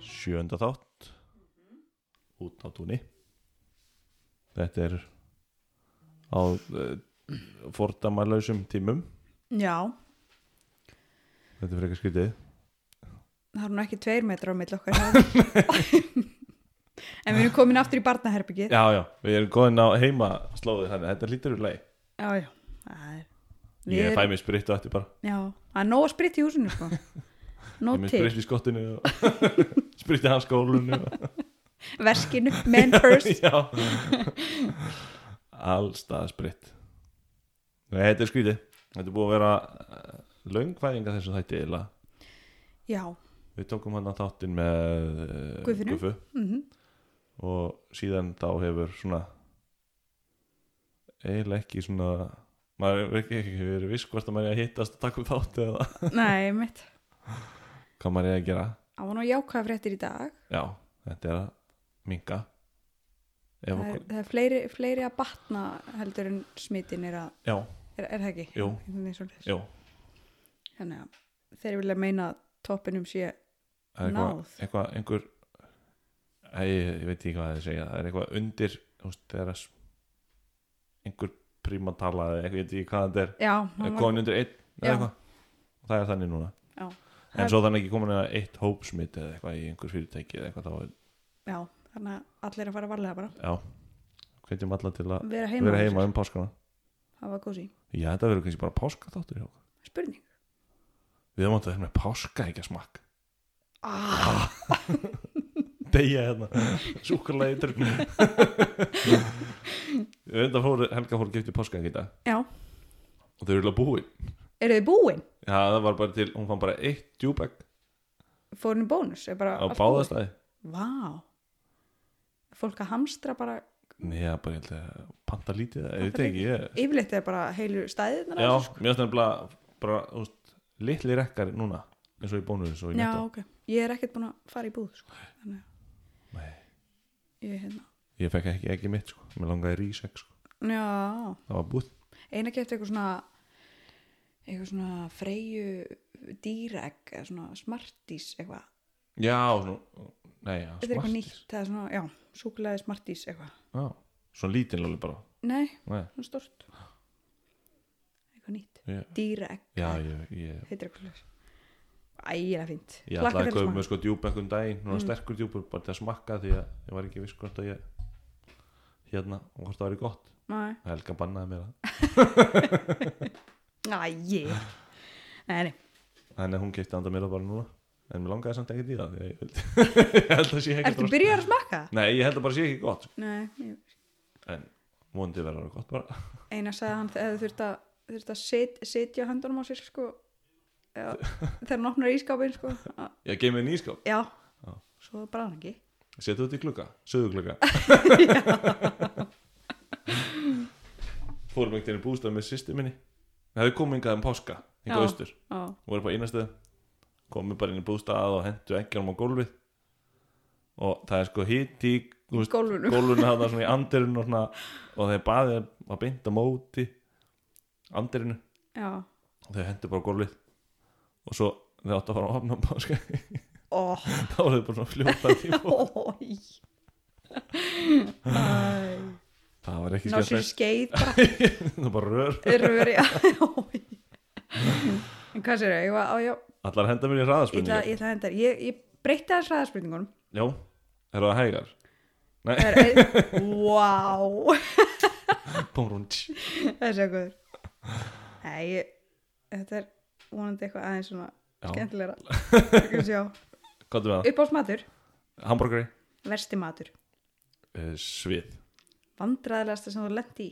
sjöunda þátt Mhm. út á túnni þetta er á uh, fordamalösum tímum Já, þetta er frekar skrítið það er nú ekki tveir metrar á milli okkar en við erum komin aftur í barnaherbyggið já já, við erum góðin á heima slóðið þannig, þetta lítur úr lagi já, já, það er við ég erum- fæ mér spritt og eftir bara Já, það er nóg að spritt í húsinu sko ég Nóg mér til, spritt í skottinu og spritt í hans skólinu og... verskinu, man purse já allstað spritt Nei, þetta er skrítið þetta er búið að vera eh, löngfæðinga þessu þætti eila Já, við tókum hann að þáttinn með eh, Guðfinnu. Guffu mhm og síðan þá hefur svona eiginlega ekki svona maður er ekki, ekki, ekki verið viss hvort að maður er að hittast og taka upp þátt eða Nei, mitt hvað maður er að gera Það var nú jákvæða fréttir í dag já, þetta er að minga ef Það okkur, er, það er fleiri, fleiri að batna heldur en smitin er að já, Er, er það ekki? Jú. Nei, svoleiðis. já Þannig að þeir vilja meina að toppinum sé það er eitthvað, Náð. eitthvað einhver Æ, ég, ég veit ekki hvað það er að segja það er eitthvað undir þú veist, þegar að s- einhver prímatala eða eitthvað, ég veit ekki hvað þetta er Já, er hann var- komin undir einn eða Já. eitthvað og það er þannig núna Já. en svo þannig ekki komin að eitt hópsmit eða eitthvað í einhver fyrirtæki eða eitthvað þá er, já þannig að allir að fara varlega bara já hvetjum alla til að Vera heima, vera hjá heima sér. um páskana Það var gósi já þetta verður kannski bara páska þáttur hjá okkur. Spurning við höfum átt að vera með páska ekki að smakk ah, deyja hérna súkulega í drögnu við erum þetta fóru Helga fóru gift í páska ekki í dag Já, og þau eru alveg búin eru þið búin? já það var bara til hún fann bara eitt djúbæk Fórinu bónus er bara á allt búið? báðastæði Vá Fólk að hamstra bara já bara ég held að panta lítið eða ég veit Panta ekki ég Yfirleitt er bara heilu stæðirnar Já, að þessu, sko? mér finnst nefnilega bara, þú veist, litli rekkar núna eins og í bónus og sko. í Já, netto ok Ég er ekkert búin að fara í búð sko. Þannig Nei. að ég hérna Ég fekk ekki ekki mitt, sko, mér langaði rísek sko. Já, það var búð eina kefti eitthvað svona eitthvað svona freyju dýraegg eða svona smartís eitthvað Já, svona, nei, já, þetta er eitthvað smartís. nýtt, það er svona, já, súkulegaði smartís eitthvað, Já, svona lítinn lóli bara nei, nei. svona stort eitthvað nýtt, Já. dýraegg Já, ég, ég, heitir eitthvað slags ægilega fínt, ég ætlaði að að Mm. kaupa smakka. mér sko djúb einhvern daginn, núna sterkur djúpur bara til að smakka því að ég var ekki viss hvort að ég hérna, og hvort það væri gott Nei. Helga bannaði mér það Æi. nei, nei, Þannig að hún kipti handa mér það bara núna en mér langaði samt ekkert í það því að ég, vildi- ég held að sé ekki ertu byrjar að smakka? Nei, ég held að bara sé ekki gott sko. nei, ég- en vonandi verður það gott bara eina sagði hann eða þurft að, þurft að sit, sitja höndunum á sér sko Já, þegar hann opnar ískápin sko að- ég geið mér nýskáp, Já, Já. svo bara hann ekki setja þetta í klukka söðu klukka fórum ekkert inn í bústað með sýstu minni það hefði komið hingað um páska hingað Já. austur, Já, voru bara innastöð komið bara inn í bústað og hentu eggjanum á gólfið og það er sko hitt í þú veist, gólfinu gólfinu hafði svona í andirinu og, svona, og þeir baðið að bynda móti andirinu Já, og þeir hentu bara á gólfið og svo þeir áttu að fara að opna um páska ó, þá voru þau bara svona fljótandi í fólk ói Æ, það var ekki Ná sér skemmt skeið bara það var bara rör, erfur já, ói En hvað sér ég, var, á, já, allar henda mér í ég ætla hraðaspurningar ég ætla að henda þér. ég, ég breytti aðeins ræðaspurningunum já, eru það hægar Það er, ein- wow Bómrún. Þessi er góður Nei, ég, þetta er vonandi eitthvað aðeins svona Já. skemmtilegra Það kan sjá hvað er með það? Uppáðsmatur, hamburgeri, versti matur uh, svið Vandræðilegasta sem þú lent í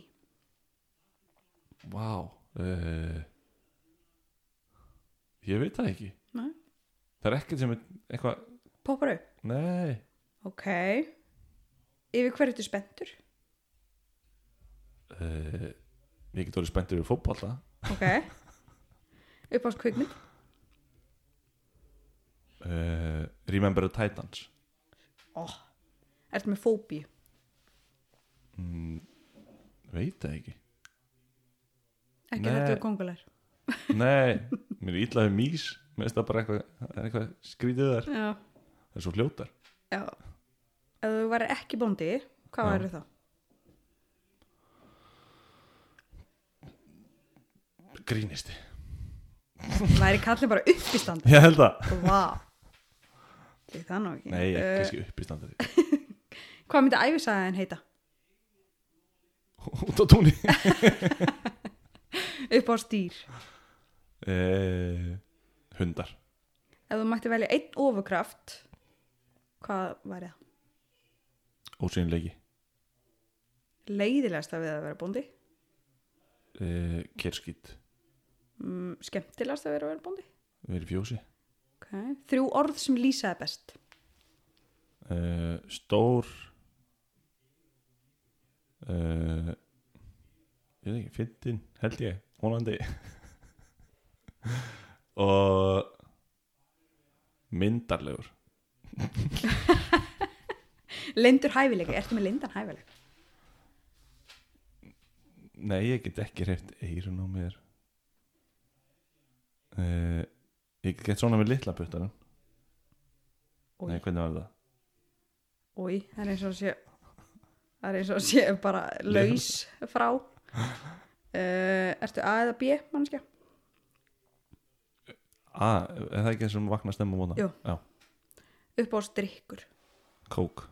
vá wow. ég veit það ekki Nei. það er ekkert sem er eitthvað Poppar upp nei, Ok Yfir hverju ertu spenntur? uh, ég get orðið spenntur í fótballa Ok Uppáðs kvikmynd? uh, Remember the Titans Ó Ertu með fóbíu? mm, veit það ekki Ekki Nei. hættu kongulegar nei, mér er illa við mís mér finnst það bara eitthvað, það er eitthvað skrítið þar Já það er svo fljótar já ef þú væri ekki bóndi, hvað Já. væri þá? grínisti væri kallið bara uppistand ég held það vá Ég það nú ekki nei, ég, Eh, kannski uppistandari hvað myndi æfisaðin heita? út á túnni upp á stýr eh, hundar ef þú mætti velja einn ofurkraft hvað væri það? ósynleiki leiðilegasta við að vera bóndi eh, kerskýt mm, skemmtilegasta við að vera bóndi verið fjósi okay. þrjú orð sem lýsaði best eh, stór eh, ég veit ekki fyndin held ég, vonandi og myndarlegur lindur hæfileika, ertu með lindan hæfileika? Nei, ég get ekki reyft eirun á mér uh, Ég get svona með litla puttanum Oj. Nei, hvernig var það? Új, það er eins og sé það er eins og sé bara laus frá uh, ertu A eða B mannskja? A, Ah, er það ekki þessum vakna stemma móna? Jú. Já, upp á strikkur kók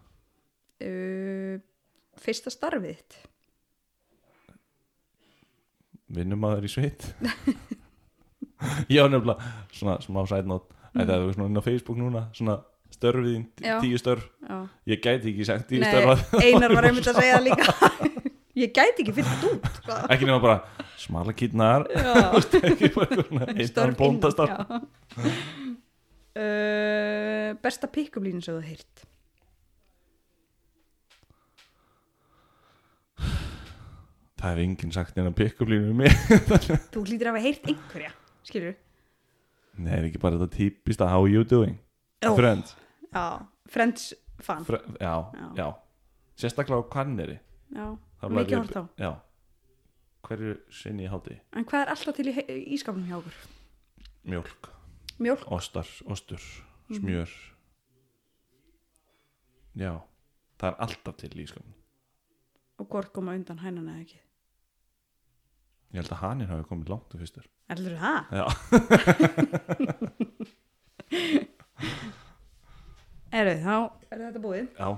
uh, fyrsta starfið þitt Vinnum að það er í sveit Já, nefnilega Svona smá sætnót mm. Það er svona inn á Facebook núna Svona störfið þín, t- Já. tíu störf Já. Ég gæti ekki sagt tíu Nei, störf Einar var einmitt að segja það líka ég gæti ekki fyllt út sko. Ekki nema bara smala kýtnar Já, Eitt bóndastarf innan, já. uh, besta pick-up línu sem þú heirt Það hefur enginn sagt hérna pikkublínu um mig þú hlýtir að hafa heyrt einhverja skilur Nei, er ekki bara þetta típista How you doing? Ó. Friends já, friends fan Fre já, Já. já, Sérstaklega á kanneri já, Þá lærði mikið ég- hort á Já Hverju sinni ég hátti? en hvað er alltaf til í he- í ískapnum hjá okkur Mjólk, mjólk, ostar, ostur, Mm. smjör Já Það er alltaf til í skapin og hvort koma undan hænan eða ekki Ég held að haninn hafi komið langt á fyrstur heldur það? Já, Eru, þá er þetta búið já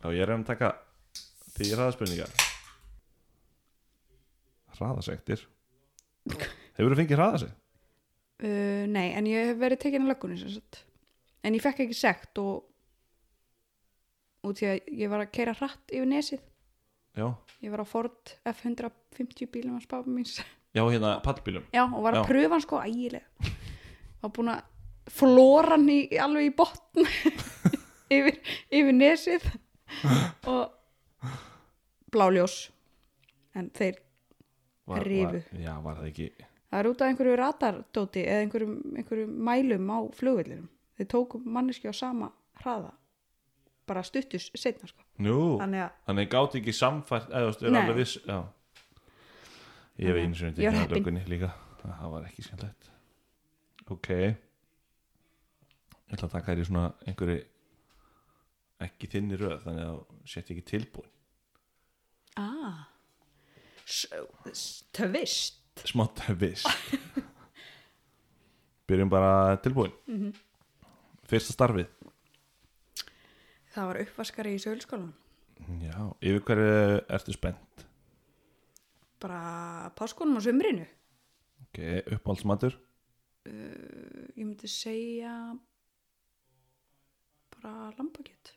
Já, ég er að taka því hraðaspurningar Hraðasektir Hefur þú fengið hraðasekt? uh, nei, en ég hef verið tekin að löggunni sem sagt. en ég fekk ekki sekt og út í að ég var að keira hratt yfir nesið Já, ég var á Ford F150 bílum hans pappa míns já hérna pallbílum já, og var að Já. pröfa hann sko ægilega var búin að flóra hann í, alveg í botn yfir, yfir nesið og bláljós en þeir, var, var, Rifu. Já, var það ekki það er út af einhverju ratardóti eða einhverjum, einhverjum mælum á flugvellinum þeir tóku manneski á sama hraða bara stuttus setna sko Nú, þannig að Þannig gátt ekki samfært eða þú veist, er Nei. alveg viss já. Ég hef Þannig, einu sinni tekið ég var að heppin. lögunni líka Það var ekki skemmtilegt Ok Ég ætla að taka þér í svona einhverju ekki þinni röð þannig að þú sett ekki tilbúin ah, s- s- tvist Smátt viss Byrjum bara tilbúin Mhm. Fyrsta starfið það var uppvaskari í sögulskólanum Já, yfir hverju ertu spennt bara páskunum á sumrinu Ok, uppáhaldsmatur Eh, ég myndi segja bara lambakett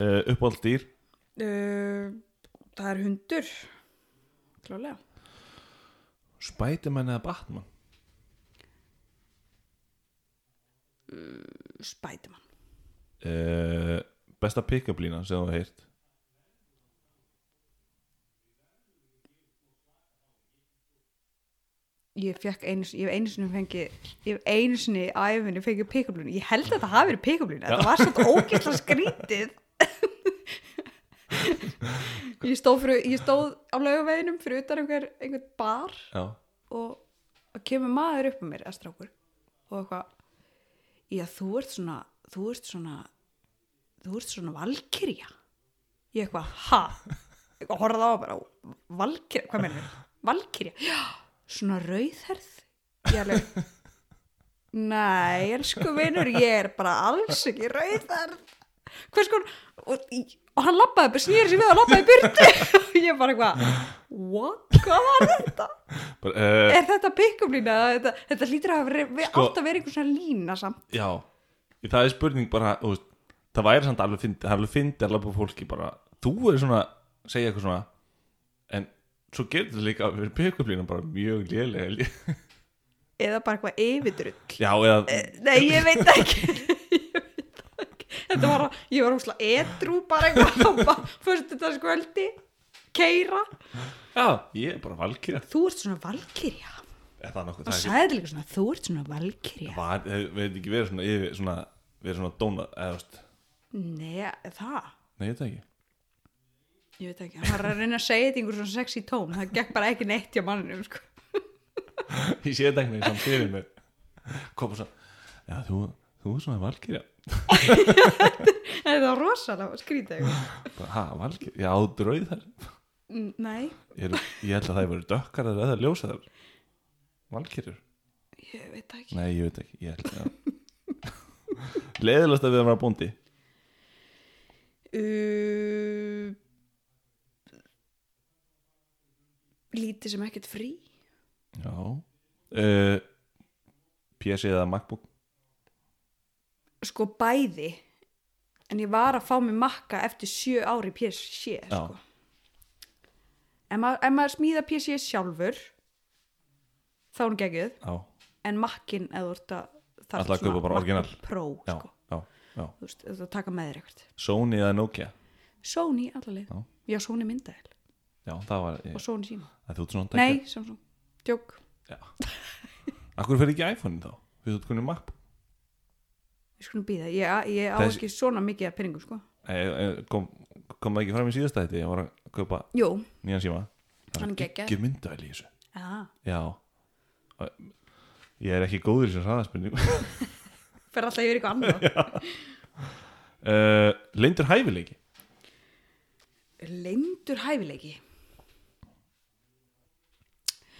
uh, Uppáhaldsdýr uh, það er hundur klálega Spiderman eða Batman spætumann uh, besta pick-up lína sem þú heirt ég fekk einu, sinni- ég hef einu sinni fengið ég hef einu sinni í æfinni fengið pikablun ég held að það hafi verið pikablun þetta var svolítið ógeðslega skrítið ég stóð, fyrir, ég stóð á laugaveginum fyrir utan einhver, einhver bar já, og það kemur maður upp með mér að strákur og eitthvað já þú ert svona, þú ert svona þú ert svona valkyrja ég eitthvað, ha og horfði á hann bara, valkyrja hvað mennir, valkyrja já, svona rauðherð ég alveg nei, elsku vinur, ég er bara alls ekki rauðherð hvers kon og, í- og hann labbaði, bara snýri sér við og labbaði í burtu og ég bara eitthvað what, hvað var þetta bara, uh, er þetta pick-up lína eða þetta, þetta hlýtur að vera, við Sko- átt að vera einhvern svona lína samt já, það er spurning bara, þú veist, það væri samt alveg fyndi, það er alveg fyndi að labba fólki bara, þú er svona, segja eitthvað svona en svo getur það líka verið pekkuplína bara mjög lélega eða bara eitthvað yfirdrull já, eða, nei, ég veit ekki Ég veit ekki. þetta var, að- ég var húslega edrú bara eitthvað fyrstu þetta skvöldi keira, já, ég er bara valkyrja þú ert svona valkyrja er það nokkuð, og það er sagði þetta líka svona, þú ert svona valkyrja var, hef- við hefum ekki verið svona yfir, svona, verið svona dóna eða, þú veist, nei, það nei, þetta ekki ég veit ekki, hann var að reyna að segja þetta í einhver svona sexy tón, það gekk bara ekki neitt hjá manninum sko. ég sé þetta ekki neitt samt fyrir mér kom og svo já, þú, þú er svona valkyrja það var rosalega skrítið eitthvað. bara, ha, valkyrja, já, þú drauð þær Mm, nei, ég, er- ég held að það hefur dökkar eða eða ljósa þær valkyrjur, ég veit ekki nei, ég veit ekki ég held að leiðilegast að við að vera bóndi Uh, lítið sem ekkert frí já uh, PC E eða MacBook sko bæði en ég var að fá mig makka eftir sjö ári PSG Já. sko. en, ma en maður smíða PSG sjálfur þá er hún geggjuð já, en makkin eða þú ert að það Ætla að kaupa bara orginal. Pro já, sko. já, já þú veist, þú ert að taka með þér eitthvað Sony eða Nokia Sony allaveg, Já. já Sony myndaðil já, það var, eh, og Sony síma, að þú ert svona Sko. nei, Samsung djók, Já Akkur fyrir ekki iPhone þá? Við þú kunni mapp við skulum býða ég, ég á Þess- ekki svona mikið að penningum sko Eh, kom, kom það ekki fram í síðasta þetta Ég var að kaupa Jú, nýjan síma Það Hann er er geggjaður. ekki myndavel í þessu já, Já Og- Ég er ekki góður í þessum hraðaspurning fer alltaf yfir eitthvað annað uh, Lindur hæfileiki Lindur hæfileiki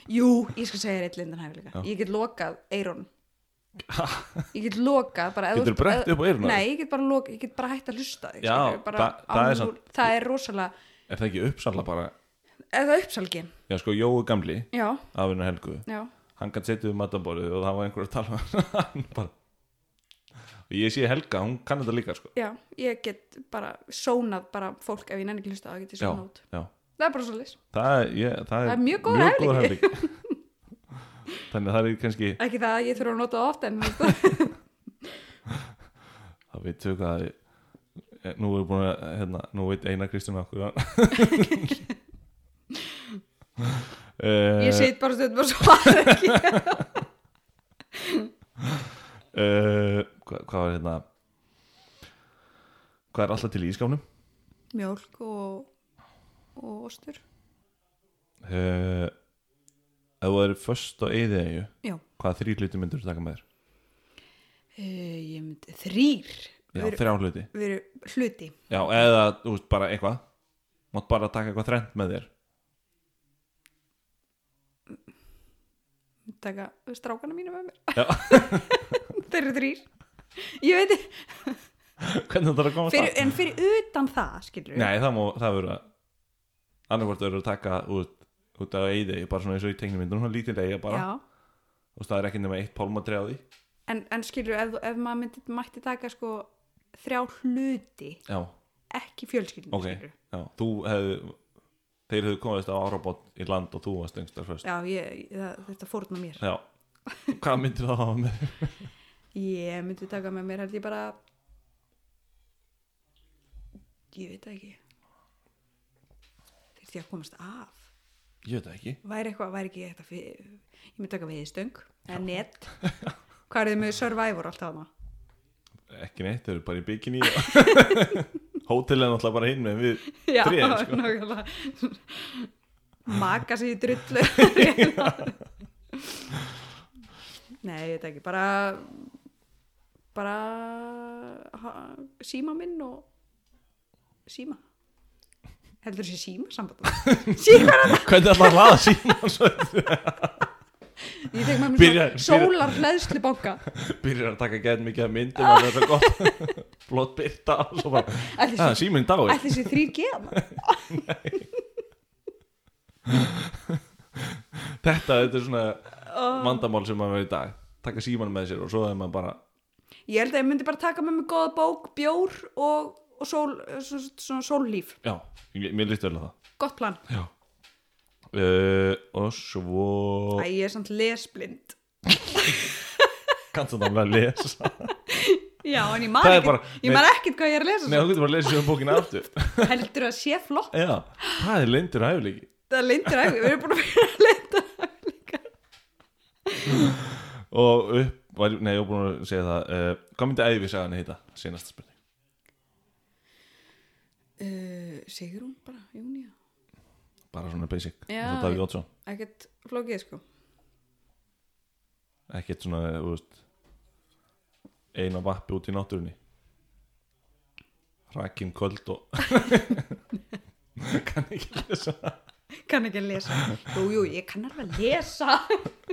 Jú, ég skal segja reitt lindan hæfileika Já. Ég get lokað eyrun Ég get lokað bara ef þú Geturðu ert- brett ef- upp á eyrun á Nei, ég get bara, loka, ég get bara hætt að hlusta þig, Já, skilurðu, bara, það- það er án- samt- það er rosalega Er það ekki uppsalla bara Eða uppsalgin Já sko, Jóu gamli Já, Afinu Helgu já Hann gætt setið við matamborðið Og það var einhver að tala um hann bara Og ég sé Helga, hún kann þetta líka sko Já, ég get bara sónað bara fólk ef ég nenni ekki hlusta það, get ég Já, sónað út. já Það er bara svo það, er- ég, það, Það er mjög góður hæfileiki. hæfileiki. þannig að það er kannski Ekki það að ég þurfa að nota það oft en þú veist, það veit þau hvað eh, nú er búin að hérna, nú veit Einar Kristján okkur ég ég sit bara stöðum og svara ekki. Eh, hvað, hvað var hérna hvað er alltaf til í ískáfnum Mjólk og, og ostur. uh, ef þú eru först á eyði eigu Já. hvaða þrý hluti myndur þú taka með þér Uh, ég myndi þrýr já, veru, þrjá hluti veru hluti já, eða þú veist bara eitthvað mátt bara taka eitthvað þrennt með þér Myndi taka strákana mínu með Já. mér þeir eru þrýr ég veit ekki, hvernig þú þarf að komast að fyrir, en fyrir utan það skilur Nei, það, má, það verður að annarkvort verður að taka út, út af eyði, bara svona eins og í teknimyndunum svona lítil eiga bara, Já, og það er ekki nema eitt pálmatri á því en, en skilur ef, þú- ef maður myndi, mætti taka sko þrjá hluti Já, ekki fjölskyldinu ok, skilur já, þú hefðu þeir hefðu komist á árabót í land og þú varst yngstar fyrst já, ég, það, þetta fórna mér Já, hvað myndir það hafa með? ég myndi taka með mér held ég bara ég veit það ekki þyrfti ég að komast af Ég veit það ekki væri eitthvað, væri ekki eitthvað fyrir, ég myndi taka veiðstöng eða net hvað er þið með Survivor alltaf þarna Ekki neitt, þau eru bara í bikini Hótelin alltaf bara hinn með við Tréð, sko. nákvæmlega maka sig í drullu nei, ég veit ekki, bara bara ha, síma minn og síma heldur þessi síma samband síma Hvernig ætla að hlaða síman svo ég tek með Byrjar- mér svo sólar hleðslu banka byrjar að taka gæðin mikið af myndum og það er svo gott blótt byrta og svo bara ætli Það er þessi, síminn dáið ætli þessi þrýr geða Þetta, þetta er svona vandamál sem maður er í dag Taka síman með sér og svo er maður bara ég held að ég myndi bara taka með mér góða bók bjór og, og sól, svona, svona sóllíf Já, ég- mér líst vel að það gott plan Já uh, Og svo Æ, ég er samt lesblind Kannst það alveg að lesa Já, en ég man Það er ekkert, bara- ég man ekkert hvað ég er að lesa Nei, þú getur bara að lesa sjöfum bókina aftur svo. heldur að sé flott Já, það er lindur hæfileiki Það er lindur æfing, við erum búin að vera að lenda Og upp, var, nei, ég var búin að segja það uh, Hvað myndi æfi sagan heita? Sýnasta spurning uh, Sigrún bara, Júnía Bara svona basic Já, Svo Davíð Ótsson Ekkert flókið sko Ekkert svona, þú veist Eina vappi út í náttúrunni Rakin köld og Kann ekki lesa Kann ekki að lesa Jú, jú, ég kann alveg að lesa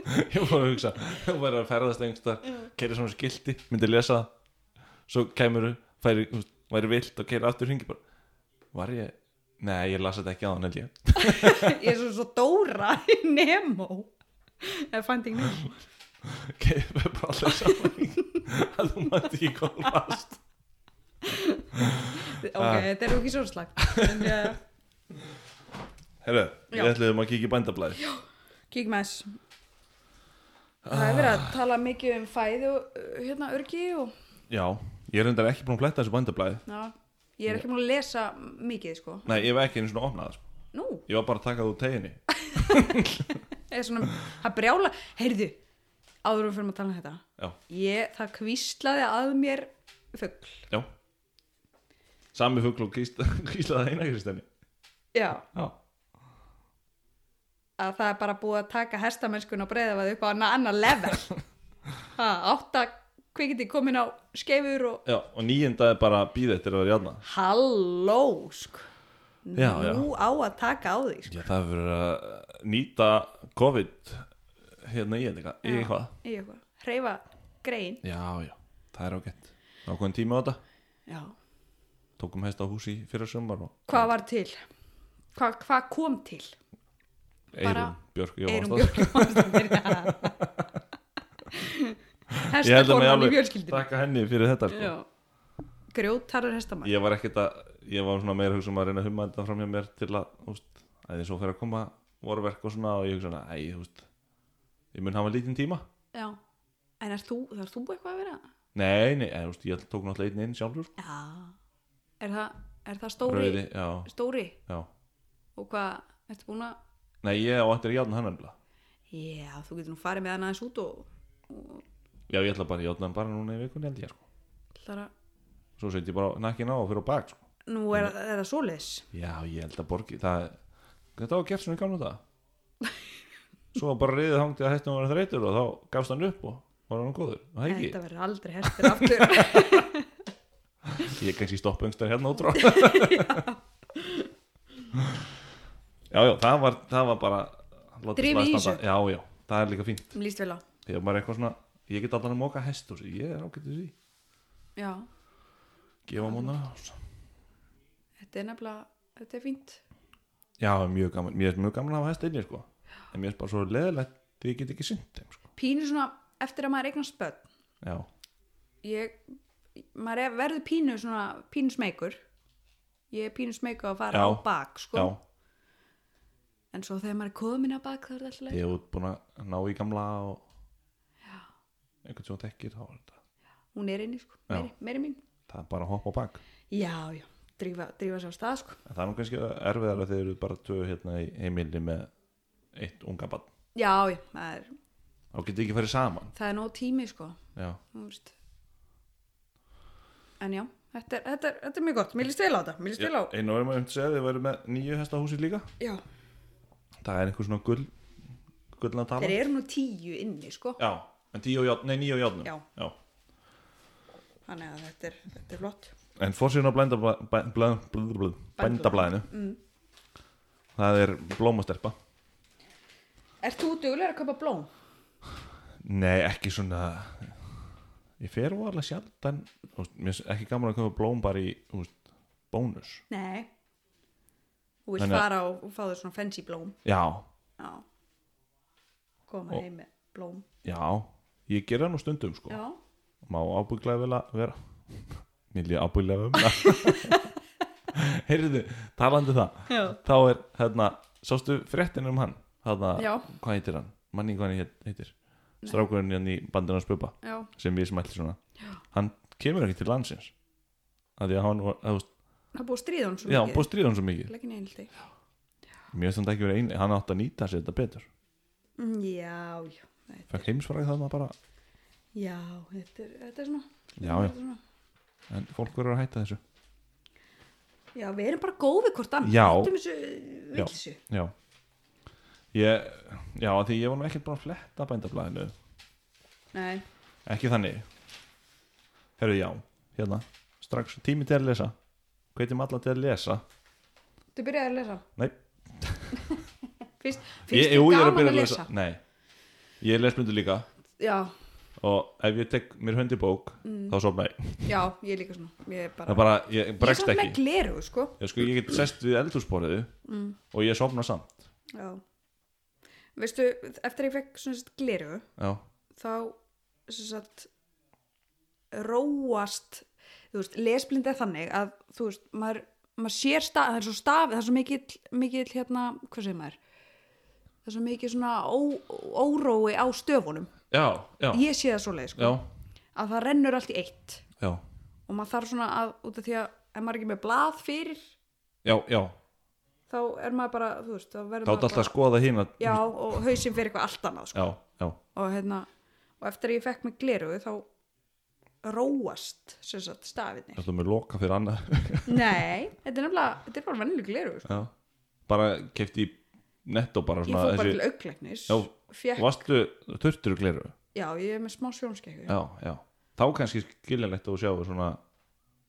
Ég var að hugsa, þú væri að ferðast einhverstaðar, keiri svona skilti, myndi lesa það svo kemur færi, þú veist, væri vilt og keiri aftur hringi bara, var ég Nei, ég las þetta ekki á hann held ég Ég er svo, svo Dóra í Nemo Eða Finding Nemo Keiri bara allir saman að þú mætti ekki hvað þú last Ok, Ah. þetta er nú ekki svo slag En ég uh, Herru, Já. við ætluðum að kíkja í bændablaði kík með þess Það er verið að tala mikið um fæði og uh, hérna örgi og Já, ég er reyndar ekki búin að fletta þessu bændablaði já, ég er ekki múin að lesa mikið sko. Nei, ég var ekki einu svona opnað sko. Nú, Ég var bara að taka það úr teginni eða svona, það brjála Heyrðu, áður en við fyrir að tala um þetta Já, Ég, það kvíslaði að mér fugl. já Sami fugl og kýsla, kýslaði eina kristinni Já. Já, Að það er bara búið að taka hestamennskun og breyða það upp á annar anna level. ha, átta kvikindi komin á skeifur og já, og nýjenda er bara að býða eftir að vera járna halló, sko. Já, já. Nú á að taka á því, sko. Já, það hefur verið að Eh, nýta COVID hérna í eitthvað, í eitthvað. Í eitthvað. Hreyfa grein. Já, já, það er ágætt Nákvæm tími á þetta, Já. tókum hest á húsi fyrir sumar og Hvað var til? Hvað hva kom til? Eirun Bara Björk Eirum Jóhannsdóttir. Björk Jónsdóttir. Ég held að mig Hestakonan í alveg fjölskyldinu. taka henni fyrir þetta sko. Já. Grjótarur hestamann. Ég var ekkert að, ég var svona meira hugsa um að reyna að humma þetta fram hjá mér til að, þú veist, að þið svo fyrir að koma vorverk og svona og ég hugsa svona, æ, þú veist, ég mun hafa lítinn tíma Já, en er þú, þarf þú eitthvað að vera? Nei, nei, eða, þú veist, ég tók náttúrulega einn inn sjálfur sko. Já Er það, er það stóri? Rauði, já, Stóri? já Og hvað, ertu búin að? Nei, ég á eftir að járna hann ennlega Já, þú getur nú farið með hann aðeins út og, og Já, ég ætla bara að játna hann bara núna í vikunni held ég sko. ætlar að, Svo set ég bara nakkin á og fyrir á bak sko. nú er, er það svoleiðis Já, ég held að borgi það... Þetta var gert svona í gamla það Svo var bara riðið hangtið að hættum var þreytur og þá gafst hann upp og var hann góður og það ekki, Þetta verður aldrei hestur aftur ég kannski stoppa yngstar hérna út frá Já, já, það var, það var bara látið Drifið í slag standa. Já, já, það er líka fínt Mér líst vel á Þegar maður er eitthvað svona, ég get allan að móka hest og sér, ég er ágætið því Já, Gefa móna þetta er nefnilega, þetta er fínt Já, mjög gaman, mér er mjög gaman að hafa hest einnig sko. en mér er bara svo leðilegt því ég get ekki synd þeim sko. Pínu svona, eftir að maður eignast börn Já, Ég, maður er, verður pínu svona, pínu smeykur Ég er pínu smeyku að fara Já. á bak, sko já, En svo þegar maður er komin á bak þá er það alltaf ég hef búin að ná í gamla og einhvern sem hún tekir þá er þetta hún er inni sko, Já. meiri, meiri mín það er bara að hoppa á bak já, já, drífa, drífa sér á stað sko en það er nú kannski erfiðar að þeir eru bara tvö hérna í heimilni með eitt unga barn já, já, það er, þá getur ekki farið saman það er nóg tími sko Já, þú veist en já, þetta er, þetta er, þetta er mjög gott mér líst vel á þetta, mér líst vel á einu verðum að um til að segja þeir verður með nýju hestahúsi líka já, það er einhver svona gull gullna tala þeir eru nú tíu inni sko Já, en tíu og játn, nei nýju og játnum Já. já þannig að þetta er, þetta er flott En fórsýðun á blændablaðinu Bændablaðinu mm. Það er blómastelpa Er þú duglega að kaupa blóm? Nei, ekki svona Ég fer og alveg sjaldan þú veist, Mér er ekki gaman að köpa blóm bara í þú veist, bónus Nei Þú vilt Þannig að- fara og og fá þér svona fancy blóm Já, Já Koma Og- heim með blóm já Ég gera nú stundum sko Já Má ábygglega vel að vera Mér líði ábygglega um það Heyrðu, talandi um það Já, Þá er, hérna, sástu fréttin um hann Hérna, já, hvað heitir hann? Manni hvað hann hét- heitir Strákurinn hann í bandinu hans bubba já. sem við smælti svona hann kemur ekki til landsins af því að hann var, að, Það er búið að stríða hún svo já, hann búið stríðan svo mikið Leggin einhaldi mér finnst hann ekki verið eini, hann átti að nýta sér þetta betur Já, Mm, já, fekk heimsfræði þarna bara já Þetta er, þetta er svona já, þetta já, er svona- en fólk verður að hætta þessu Já, við erum bara góð við hvort annað Já. Hættum þessu Já. vilsu já ég, já, af því ég var nú ekkert bara að fletta bændablaðinu Nei, ekki þannig herru, já, hérna strax tími til að lesa hvetjum alla til að lesa þú byrjaði að lesa nei, Fyrst, fyrst ég, er jú, ég er gaman að byrja að lesa nei, ég les myndu líka Já, og ef ég tek mér höndi bók þá sopna ég já, ég er líka svona Ég er Það bara er bara, Mm. ég Ég er bregst samt með ekki Mm. gleru, sko ég, sko, ég get sest við eldhúsborðið og ég sofna samt Já Veistu, eftir að ég fekk svona sett gleru já, þá sem sagt róast þú veist, lesblind er þannig að þú veist, maður, maður sér stað það er svo staf, það er svo mikill, mikill hérna, hvað segir maður það er svo mikill svona ó, órói á stöfunum, já, já, ég sé það svo leið já, sko, að það rennur allt í eitt já, og maður þarf svona að, út af því að ef maður er ekki með blað fyrir já, já. þá er maður bara, þú veist, þá verður þá er alltaf maður sko- bara, að skoða hína já, og hausinn fyrir eitthvað allt annað sko. já, já, og hérna og eftir að ég fekk mig gleruðu þá róast sem sagt stafinni ætlum við loka fyrir annað nei, þetta er nefnilega, þetta er bara vennileg gleruðu sko. já, bara kefti í netto bara ég svona fór bara til augleiknis Já, fekk, vastu, þurftur gleru já, ég er með smá sjónskekku já, já, þá kannski skiljanlegt að þú sjáu svona,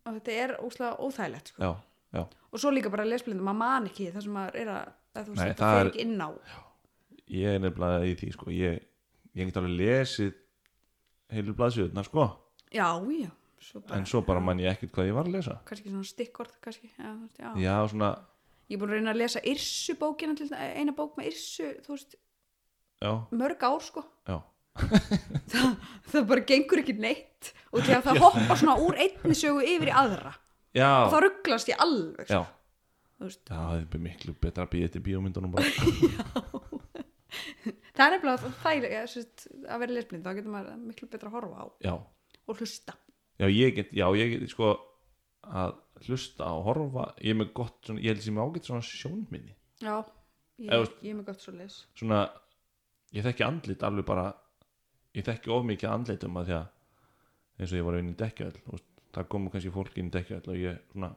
og þetta er óslega óþægilegt sko. já, já og svo líka bara lesblindum, maður man ekki það sem maður er að, að þú veist, Nei, þetta það fer er- ekki inn á ég er nefnilega í því, sko ég, ég get alveg lesið heilu blaðsjöðna, sko já, já, svo bara en svo bara mann ég ekkert hvað ég var að lesa kannski svona stikkorð kannski, já, þú veist, já. já, svona, ég er búin að reyna að lesa Yrsu bókina til dæ- eina bók með Yrsu, þú veist, já, mörg ár sko já það bara gengur ekki neitt og því að það hoppar svona úr einni sögu yfir í aðra Já, og þá rugglast ég alveg já. Þú veist. Já, það er bara miklu betra að býja til bíómyndunum bara. það er nefnilega þægilega sérst, að vera lesblind, þá getur maður miklu betra að horfa á Já, og hlusta já ég get, já, ég get sko að hlusta og horfa ég er með gott, svona, ég held sem ég ágætt svona sjónminni já, ég, Eða, þú veist. ég er með gott svo les svona, ég þekki andlit alveg bara, ég þekki of mikið af andlitum að því að eins og ég var að vinna í dekkjöld, veist, það komu kannski fólk inn í dekkjöld og ég svona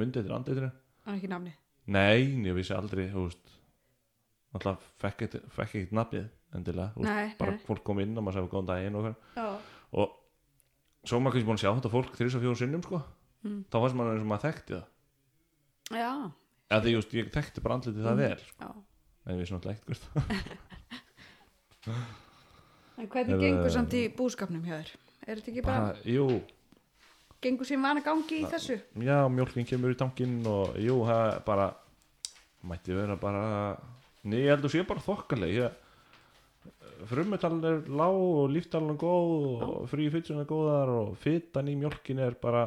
myndi þetta andlitur, það er ekki nafni nei, ég vissi aldrei þú veist, alltaf fekk ekkert- fekk ekkert nafnið endilega, þú veist, nei, bara nei. fólk kom inn og maður sagði góðan daginn og hvað Já. og svo er maður kannski búin að sjá þetta fólk þrís og fjórum sinnum sko Mm. þá fannst maður eins og maður þekkti það já, eða því just, ég þekkti bara andlitið Mhm. það vel sko. já en við svona ekki hvert það- en hvernig Er- gengur samt í búskapnum hjá þér er þetta ekki bara, bara, jú, gengur sem vana gangi í þessu já, mjólkin kemur í tankinn og jú, það er bara mætti vera bara nei, ég held að sé bara þokkaleg ég, frummetalinn er lág og líftalinn er góð og frí fytsun er góðar og fytan í mjólkin er bara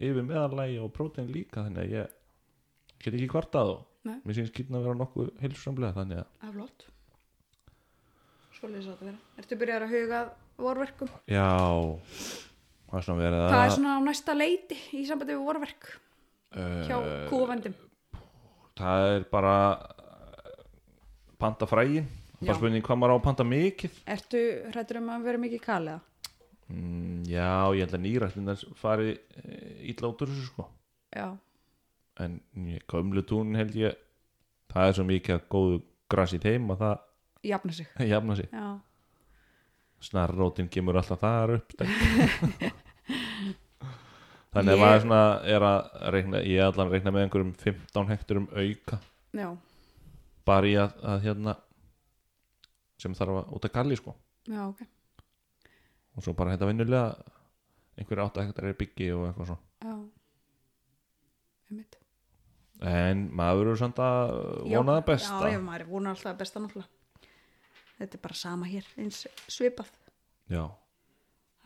yfir meðanlægi og prótein líka þannig að ég get ekki kvartað og Nei. mér syns kýrna vera nokkuð heilsamlega þannig að það er flott svo les þetta vera ertu byrjar að huga að vorverkum já, það er svona verið að hvað er svona á næsta leiti í sambandi við vorverk hjá Eh, kúavendum það er bara eh, panta frægin Já. bara spurning hvað maður á að panta mikið Ertu hrættur um að vera mikið kaliða? mm, já, ég held að nýrættin fari eh, illa út úr þessu sko Já, en gömlu tún held ég það er svo mikið að góðu gras í þeim að það jafna sig jafna sig Já, snarrótin kemur alltaf þar upp stelpur. þannig að Ég- maður svona er að reikna, ég er allan að reikna með einhverjum 15 hekturum auka já, bara í að, að hérna sem þarf að út að galli sko já, ok og svo bara hérna venjulega einhverju 8 hektar er byggi og eitthvað svo já einmitt en maður eru samt að vona það besta já, já, maður er vona alltaf að besta náttúrulega þetta er bara sama hér, eins svipað Já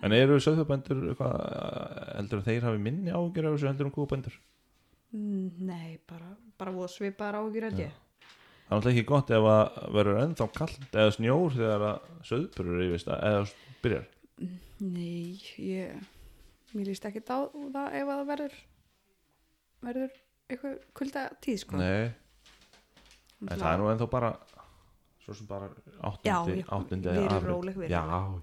En eru söðfjörbendur eitthvað heldur að þeir hafi minni ágjur af þessu heldur um kúbendur? Mm, nei, bara, bara voða svipaðar ágjur held ég Það er alltaf ekki gott ef að verður ennþá kallt eða snjór þegar að söðbörur yfirst að eða byrjar. nei, ég mér líst ekki á það ef að það verður verður eitthvað kulda tíð sko Nei, en Náttúrulega- það er nú ennþá bara svo sem bara áttundi, Já, já, áttundi við erum afrit. róleg, við Já, erum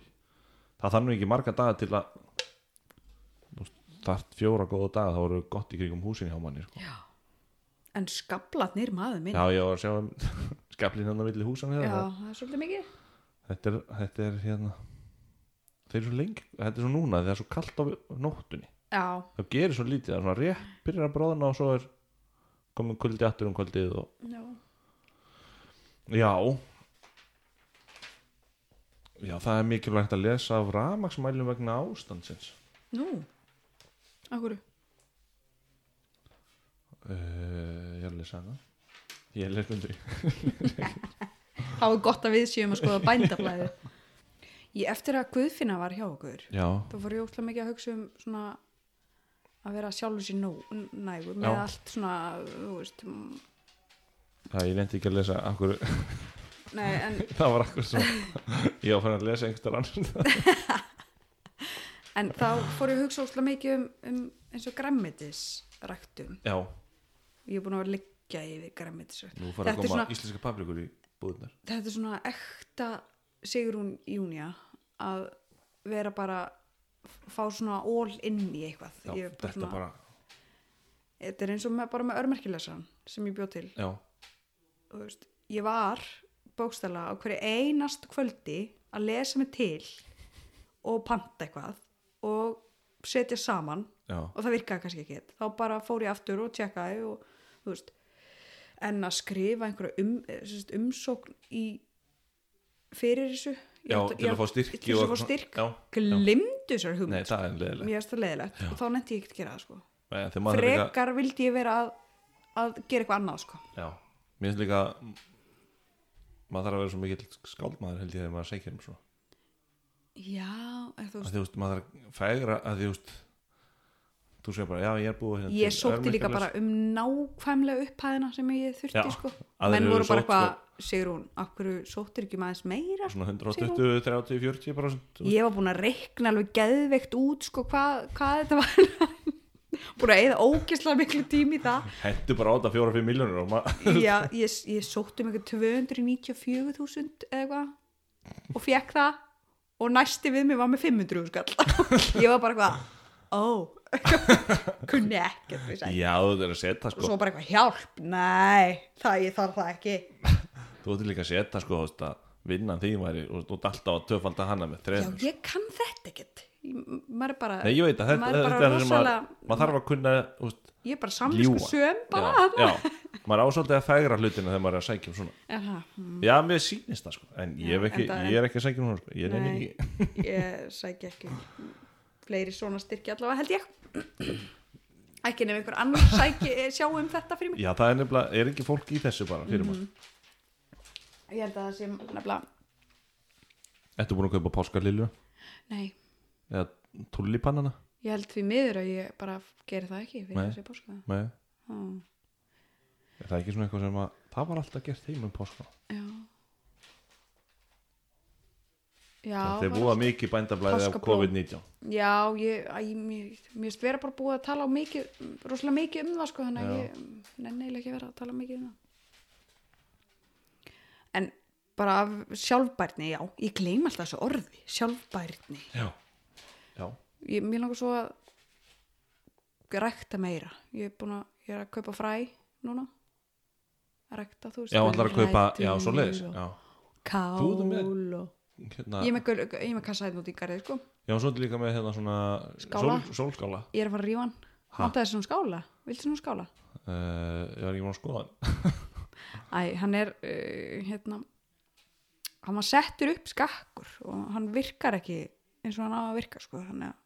það þarf nú ekki marga daga til að þú veist, þarft fjóra góða daga þá eru gott í kringum húsin hjá manni sko. Já. En skablatnir maður minn. Já, ég var að sjá um skeflin hann að villi húsan Já, hérna það- það er svolítið mikið. þetta er, þetta er hérna þeir eru svo lengi, þetta er svo núna það er svo kalt á nóttunni Já, það gerir svo lítið, það er svona rétt byrjar að bróðna og svo er komin kuldi aftur um kvöldið og já. já já, það er mikilvægt að lesa af ramaksmælum vegna ástandsins Nú, af hverju? uh, ég er að lesa hana ég les undir í. Þá er gott að við séum að skoða bændablaði. Ég eftir að Guðfinna var hjá okkur, já, þá fór ég ótrúlega mikið að hugsa um svona að vera sjálfur sér nóg, n- nægur með Já. allt svona, þú veist, m- það ég lendi ekki að lesa akkur, nei, en, það var akkur svo ég á fann að lesa einhverjar annars en þá fór ég að hugsa ótrúlega mikið um, um eins og græmmetisræktum. já, Ég er búin að vera að liggja yfir græmmetisræktum. nú fara að Þetta er koma svona- íslenska paprikur í búðunar þetta er svona ekta Sigrún Júnia að vera bara fá svona all inn í eitthvað já, Ég er bara þetta svona, bara, þetta er eins og með, bara með örmerkilesan sem ég bjóð til já Þú veist, ég var bókstæla á hverju einast kvöldi að lesa mig til og panta eitthvað og setja saman já, og það virkaði kannski ekki þá bara fór ég aftur og tjekkaði og, þú veist, en að skrifa einhverja um, eh, sem sagt, umsókn í fyrir þessu Ég Já, átti- til ég að fá átti- styrki til og að eitthvað fá svona. styrk Já, glimdu þessar hugmynd nei, það er leðilega mér finnst það leðilegt og þá nefndi ég ekki að gera það sko. þegar maður þarf líka frekar vildi ég vera að, að gera eitthvað annað sko. já, mér finnst líka maður þarf að vera svo mikill skáldmaður held ég þegar maður segir um svona já, eða þú að veist þú veist, maður þarf að fægra að þú veist þú segir bara, já, ég er búið hérna ég til sótti líka örmyndarlaus. bara um nákvæmlega upphæðina sem ég þurfti Já, sko. aðrir menn eru voru sótt, bara sko. eitthvað Sigrún, af hverju sóttir ekki maður meira svona 120, 30, 40 prosent Ég var búin að reikna alveg geðveikt út sko hvað, hvað þetta var búin að eða ógislega miklu tími í það hendur bara á þetta 4-5 miljónur og maður Já, ég, ég sótti um eitthvað 294.000 eða eitthvað og fekk það og næsti við mig var með 500 skall ég var bara eitthvað ó, kunni ekkert við sætt já, þú er að setja og sko svo bara eitthvað hjálp, nei það ég þarf það ekki þú ert líka að setja sko, þú veist að vinnan þín væri og þú ert alltaf að töfalda hana með Já, þreinu ég kann þetta ekkert Ég- maður er bara, nei, ég veit að þetta, maður er þetta bara er sem að rosalega maður þarf að kunna, þú veist ég er bara samlisku söm bara já, já, maður ásaldið að fegra hlutina þegar maður er að sækja um svona Er það? já, mér sýnist það sko, en ég, hef Mm. Já, ekki, en það- ég er ekki að sækja um svona sko. ég er Nei, ekki, ég sækja ekki fleiri svona styrki allavega held ég ekki nefnir einhver annar sæki eh, sjá um þetta fyrir mig já, það er nefnilega er ekki fólk í þessu bara, Mhm. fyrir maður ég held að það sé nefnilega Ertu búin að kaupa páskarlilju nei, eða tullipannana ég held því miður að ég bara geri það ekki fyrir Nei. þessi páska Nei, Ó, er það ekki svona eitthvað sem að það var alltaf gert heim um páskana já já, þetta er var búið allt- mikið bændablaðið af Páskablóm. COVID-19 já, ég, æ, mér, mér finnst vera bara búið að tala á mikið, rosalega mikið um það sko, þannig að Já. ég nenni eiginlega ekki að vera að tala mikið um það en bara af sjálfbærni, já ég gleym alltaf þessu orði, sjálfbærni já, já, ég, mér langar svo að rækta meira ég er búin að, ég er að kaupa fræ núna rækta, þú veist já, ætlar að kaupa gulrætur já, svo leiðis, og já, kál Þú ert með- og hérna, ég er með, gaur- ég er með kassa hérna út í garðið sko já, svo ertu líka með hérna svona Skála. sól, sólskála ég er að fara að rífa hann Ha? hann þessi svona skála, viltu svona skála uh, ég var ekki múin að skoða hann Æ, hann er uh, hérna hann var settur upp skakkur og hann virkar ekki eins og hann á að virka sko þannig að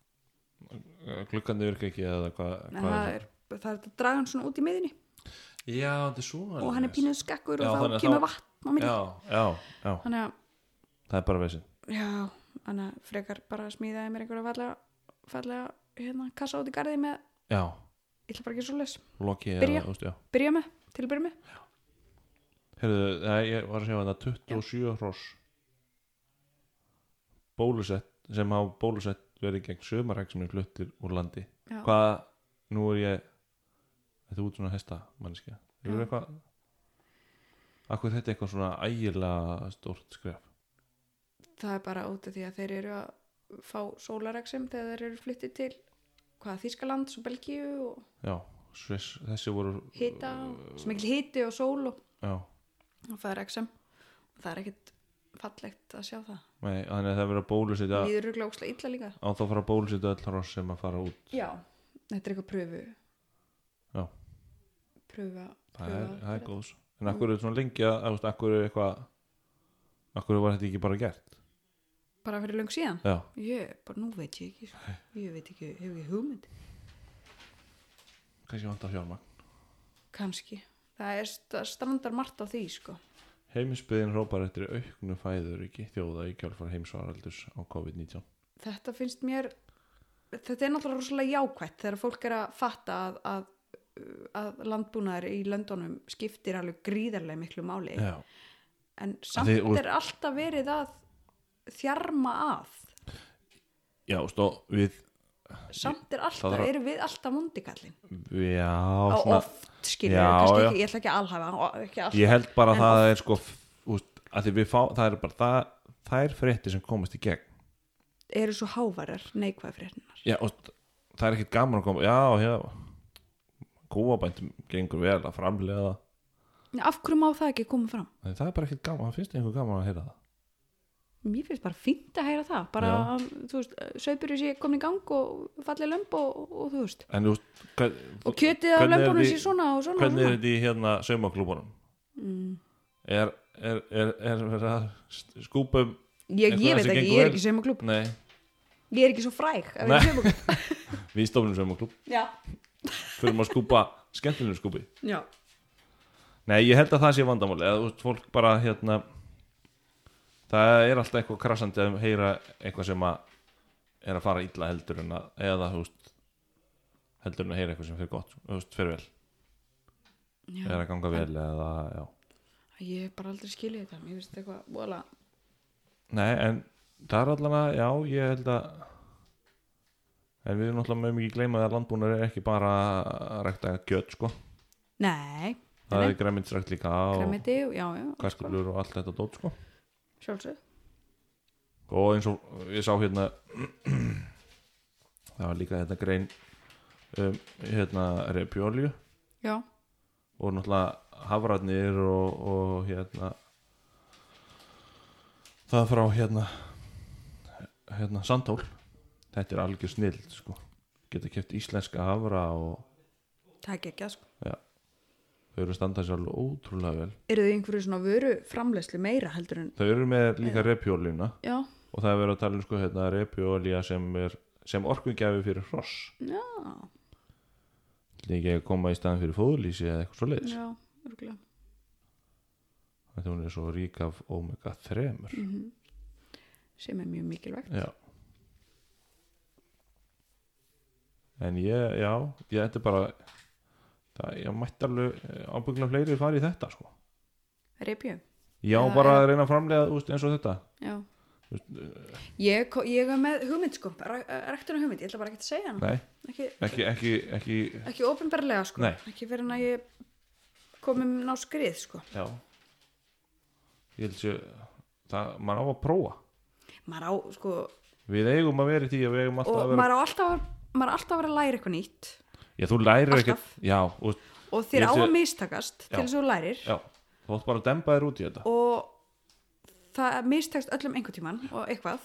Eh, gluggandi virka ekki eða hvað en hvað það er, það er að draga hann svona út í miðinni já, þetta er svona og hann er pínuð skakkur Já, og þannig að þá kemur þá- vatn á milli já, já, já, þannig að, það er bara veisin já, þannig að frekar bara smíðaði mér einhverja fallega, fallega hérna, kassa út í garði með já, ég ætla bara ekki svo les, loki Byrja. eða, þú veist, já byrja með, til að byrja með Heyrðu, nei, ég var að segja þetta 27 hross bólusett sem hafa bólusett verið gegn sömarhegsinu fluttir úr landi Já. hvað, nú er ég þetta út svona hesta manneskja Já. er eitthvað akkur er þetta eitthvað svona ægilega stórt skref það er bara út af því að þeir eru að fá sólareksum þegar þeir eru flyttið til hvað, Þískaland og Belgíu og já, sviss, þessi voru hita, og- svo mikil hiti og sól og, já, og það er XM og það er ekkit fallegt að sjá það nei, þannig að það verið að bólusetja ja. líður rugla ókslega illa líka á þá að fara að bólusetja öll hross sem að fara út já, þetta er eitthvað pröfu Já. pröfa, það er, það er pröfa góðs en akkur er svona lengi að, þú veist, akkur er eitthvað akkur var þetta ekki bara gert bara fyrir löng síðan já ég, bara nú veit ég ekki sko. ég veit ekki, hefur ekki hugmynd kannski vantar fjármagn kannski, það er st- strandar margt á því sko Heimisbyðin hrópar eftir auknu fæðuriki þjóða í kjálfar heimsvaraldurs á COVID-19 þetta finnst mér þetta er náttúrulega rosalega jákvætt þegar fólk er að fatta að, að, að landbúnaður í löndunum skiptir alveg gríðarlega miklu máli Já, en samt Þið- og- er alltaf verið að þjarma að já stó, við samt er alltaf, Það þarf að- erum við alltaf mundikallin Já, á svona oft skilur, Já, kannski já. ekki, ég ætla ekki að alhæfa og ekki alltaf, Ég held bara En að það er sko úst, að því við fá, það er bara það, þær fréttir sem komast í gegn eru svo hávarar neikvæð fréttinar Já, og það er ekkit gaman að koma Já, já kúabændum gengur vel að framlega af hverju má það ekki koma fram? það það er bara ekkit gaman, það finnst einhver gaman að heyra það Mér finnst bara fínt að heyra það bara, Já. að, þú veist, söpurinn sé komin í gang og fallið lömb og, og þú veist En þú veist, hvern- og kjötið af hvernig er lömbunum því- sé svona og svona, og hvernig er svona. Mm. þetta í hérna saumaklúbunum er, er, er, er verið að st- skúpa um Ég, ég eitthvað sem veit ekki, gengur ég er vel? ekki saumaklúb nei, ég er ekki svo fræg að vera Nei. saumaklúb við stofnum saumaklúb já, fyrir að skúpa skemmtilegum skúpi já, nei, ég held að það sé vandamáli eða þú veist, fólk bara hérna það er alltaf eitthvað krassandi að heyra eitthvað sem að er að fara illa heldur en að eða þú veist heldur en að heyra eitthvað sem fyrir gott þú veist, fyrir vel, já. er að ganga vel eða, já Ég hef bara aldrei skiljið þetta, mér finnst eitthvað vola. Nei, en það er allan að, já, ég held að En við erum náttúrulega með mikið gleyma að landbúnar er ekki bara að rækta kjöt, sko Nei, Það Nei. er græmitsrækt líka og kremiti, já, já, kartöflur og allt þetta dót, sko sjálfsög. Og eins og ég sá hérna Það var líka þetta grein um, hérna repjólju Já, og náttúrulega hafrarnir og, og hérna það frá hérna hérna Sandhól þetta er algjör snild sko geta keft íslenska hafra og það er ekki að sko. þau eru að standa sér alveg ótrúlega vel Eru þau einhverju svona vöru framlegslu meira heldur en, þau eru með líka repjólina já, og það er verið að tala um sko hérna repjólja sem er sem orkungjafi fyrir hross já, líka að koma í staðan fyrir fóðlýsi eða eitthvað svo leiðis já, örgulega. þetta hún er svo rík af omega 3 Mhm. Sem er mjög mikilvægt. Já En ég, já, ég þetta er bara það, ég mætti alveg ábyggla fleiri fara í þetta sko. Repju, Já, Já, bara já. að reyna að framlega úst, eins og þetta já. Ég, ko- ég er með hugmynd sko, rektur hugmynd, ég ætla bara ekki að segja hana. Nei, Ekki, ekki, ekki, ekki ekki ofinberlega sko. Nei. Ekki fyrir en að ég komum ná skrið sko. Já Ég held sér það, maður á að prófa Maður á, sko, Við eigum að vera í því að við eigum alltaf og að vera maður á alltaf, að- maður á alltaf að vera að læra eitthvað nýtt. Já, þú lærir Alltaf. ekkert Já, úst, og þér Ég á sé- að mistakast til Já. þess að þú lærir já, þú átt bara að demba þér út í þetta og það mistekst öllum einhvern tíman og eitthvað,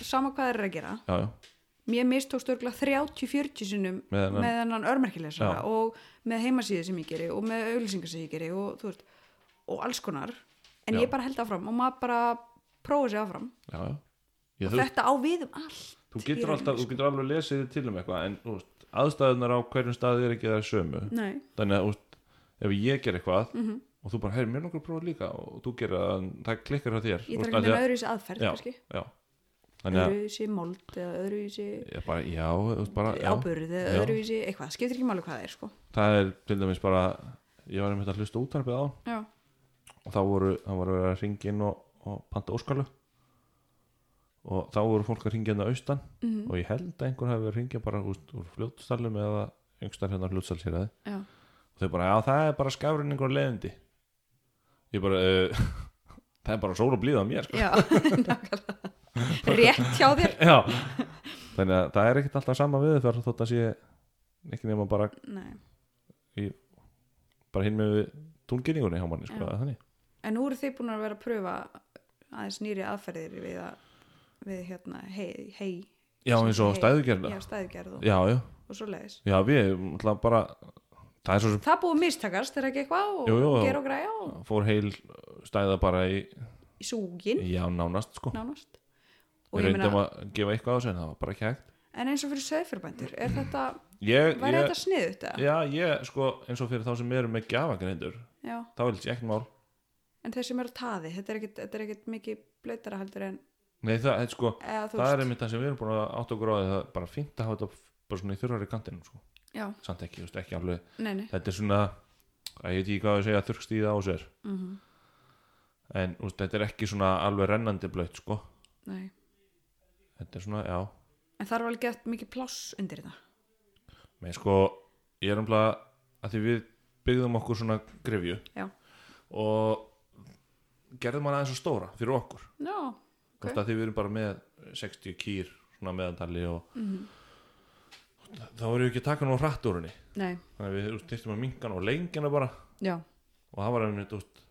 sama hvað þeir eru að gera já, já, mér mistókst örgulega 30-40 sinnum Með þennan- með hennan örmerkilega Já. og með heimasíði sem ég geri og með auglýsingar sem ég geri og, þú veist, og alls konar en Já. ég bara held áfram og maður bara prófa sér áfram já, já. Ég, og þú, þetta á við um allt þú, í getur rauninni, alltaf, þú getur alveg lesið þig til um eitthvað en þú veist, aðstæðunar á hverjum staði er ekki það sömu Nei, þannig að þú veist, ef ég ger eitthvað Mhm. og þú bara, heyr, mér langar að prófa líka og þú gerir það, en það klikkar það þér ég þú veist, af þarf því ekki með öðruvísi aðferð Já. kannski, að- já. þannig að öðruvísi mold eða öðruvísi ég bara, já, þú veist, bara, já. ábyrð eða Já. öðruvísi eitthvað, skiptir ekki máli hvað það er sko það er til dæmis bara ég var einmitt að hlusta útarpið á Já, og þá voru, þá voru verið að ringa inn og, og panta óskalu og þá voru fólk að ringja inn á austan Mhm. og ég held að einhver hafi verið að ringja bara úst, úr fljótstallum eða yngstar hérna fljótstallsýraði já, og þau bara, já það er bara skafurinn einhver leiðindi ég bara uh, það er bara sól og blíða á mér sko. já nákvæmlega. rétt hjá þér já, þannig að það er ekkert alltaf sama við þar þótt að sé ekki nema bara, Nei. bara hinn með túnginningunni hjá manni sko, Já. eða þannig En nú eru þið búin að vera að pröfa aðeins nýri aðferðir við, að, við hérna, hei, hei já eins og Hei. stæðugerna já, stæðugerð og, já, já, og svo leiðis. já, við náttúrulega bara, það er svo sem Það búið mistakast, er ekki eitthvað og Jú, jú, jú. gera og græja og fór heil stæða bara í, í súgin já, nánast sko nánast. Og við ég reyndum meina, að gefa eitthvað á sig en það var bara ekki hægt en eins og fyrir söðfyrbændur, er þetta, ég, væri ég, þetta sniðut eða? já, ég, sko, eins og fyrir þá sem eru með gjafagreindur, Já. þá vil ég ekkert mál En þeir sem eru á taði, þetta er ekkit, þetta er ekkit mikið blöytara heldur en, nei, það, þetta, sko, eða þú það er einmitt það sem við erum búin að átt okkur á því, það er bara fínt að hafa þetta bara svona í þurrari kantinum, sko, Já, samt ekki, þú veist, ekki alveg nei, nei. þetta er svona, að ég veit ekki hvað að segja þurrstíða á sér, Mm en þú veist, þetta er ekki svona alveg rennandi blöyt, sko, nei. þetta er svona, já, En það er alveg gett mikið pláss undir þetta. Nei, sko, ég er umlað að því við byggðum okkur svona grefju Já. og gerðum hana aðeins og stóra fyrir okkur Já, okay. að því við erum bara með 60 kýr svona meðandali og Mhm. þá erum við ekki að taka nú hratt úr henni nei, þannig að við styrstum að minka hana og lengja hana bara já, og það var einmitt út,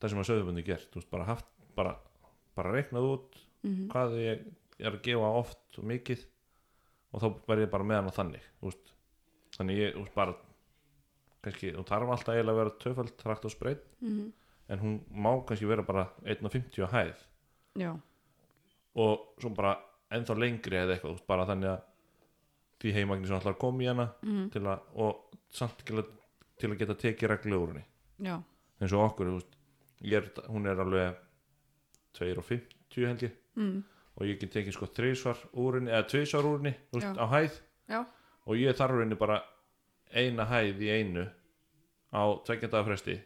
það sem að söðubundi gert út, bara haft, bara, bara reiknað út hvað ég er að gefa oft og mikið og þá verð ég bara með hann á þannig út. þannig ég út, bara kannski, hún þarf alltaf eiginlega að vera töfald trakt og spreitt Mhm. en hún má kannski vera bara 1.50 á hæð já. og svo bara ennþá lengri eða eitthvað út, bara þannig að því heimagni sem alltaf kom í hana Mhm. til að, og samt til að, til að geta tekið reglu úr henni Já, eins og okkur þú veist, ég er, hún er alveg 2,50 held ég mm. og ég get tekið sko þrísvar úr henni eða tvísvar úr henni þú veist, Já. á hæð já, og ég þarf henni bara eina hæð í einu á tveggjandaða fresti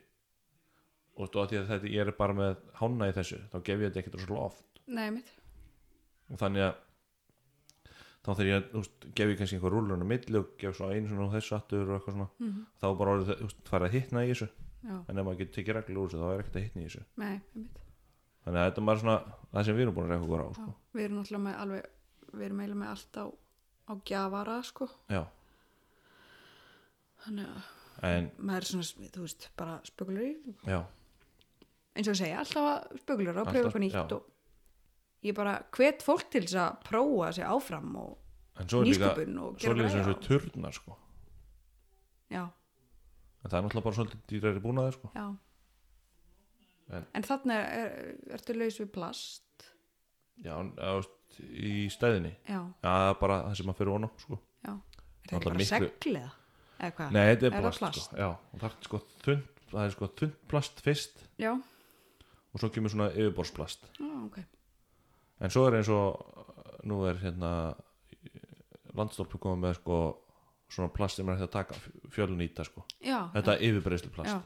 og þú veist, og af því að þetta, ég er bara með hána í þessu þá gef ég þetta ekkert svo oft nei mitt og þannig að þá þegar ég, þú veist, gef ég kannski einhver rúlun á milli og gef svo einu svona og þessu aftur og eitthvað svona, mm þá er bara orðið, þú veist, farið að hitna í þessu Já, en ef maður getur tekið reglur úr þessu þá er ekkert að hitna í þessu nei, mitt þannig að þetta er bara svona það sem við erum búin að reyna okkur á já. sko. Við erum náttúrulega með alveg Við erum eiginlega með allt á, á gjafara sko. já. Þannig að en maður er svona, þú veist, bara spökulur í já, Eins og ég segja, alltaf að spökulur og Alltaf, pröfa eitthvað nýtt já. og Ég bara hvet fólk til þess að prófa sig áfram og en svo er líka nýsköpun og svo er líka græja sem svo og- turnar sko. Já, en það er náttúrulega bara svolítið dýrari búnaði sko. já En- En þarna er, er, ertu laus við plast já, en, þú veist, í stæðinni Já, já, það er bara það sem að fyrir vona sko. já Er það ekki Náttúrulega bara miklu- seglið? Eða hvað? nei, þetta Er er það plast, plast? Sko. Já, og það, er sko þund, það er sko þund plast fyrst Já, og svo kemur svona yfirborðsplast já, ok en svo er eins og uh, nú er hérna landstólpi komið með sko, svona plast sem er hægt að taka fjölun í þetta sko. Já, þetta er yfirbreysluplast já.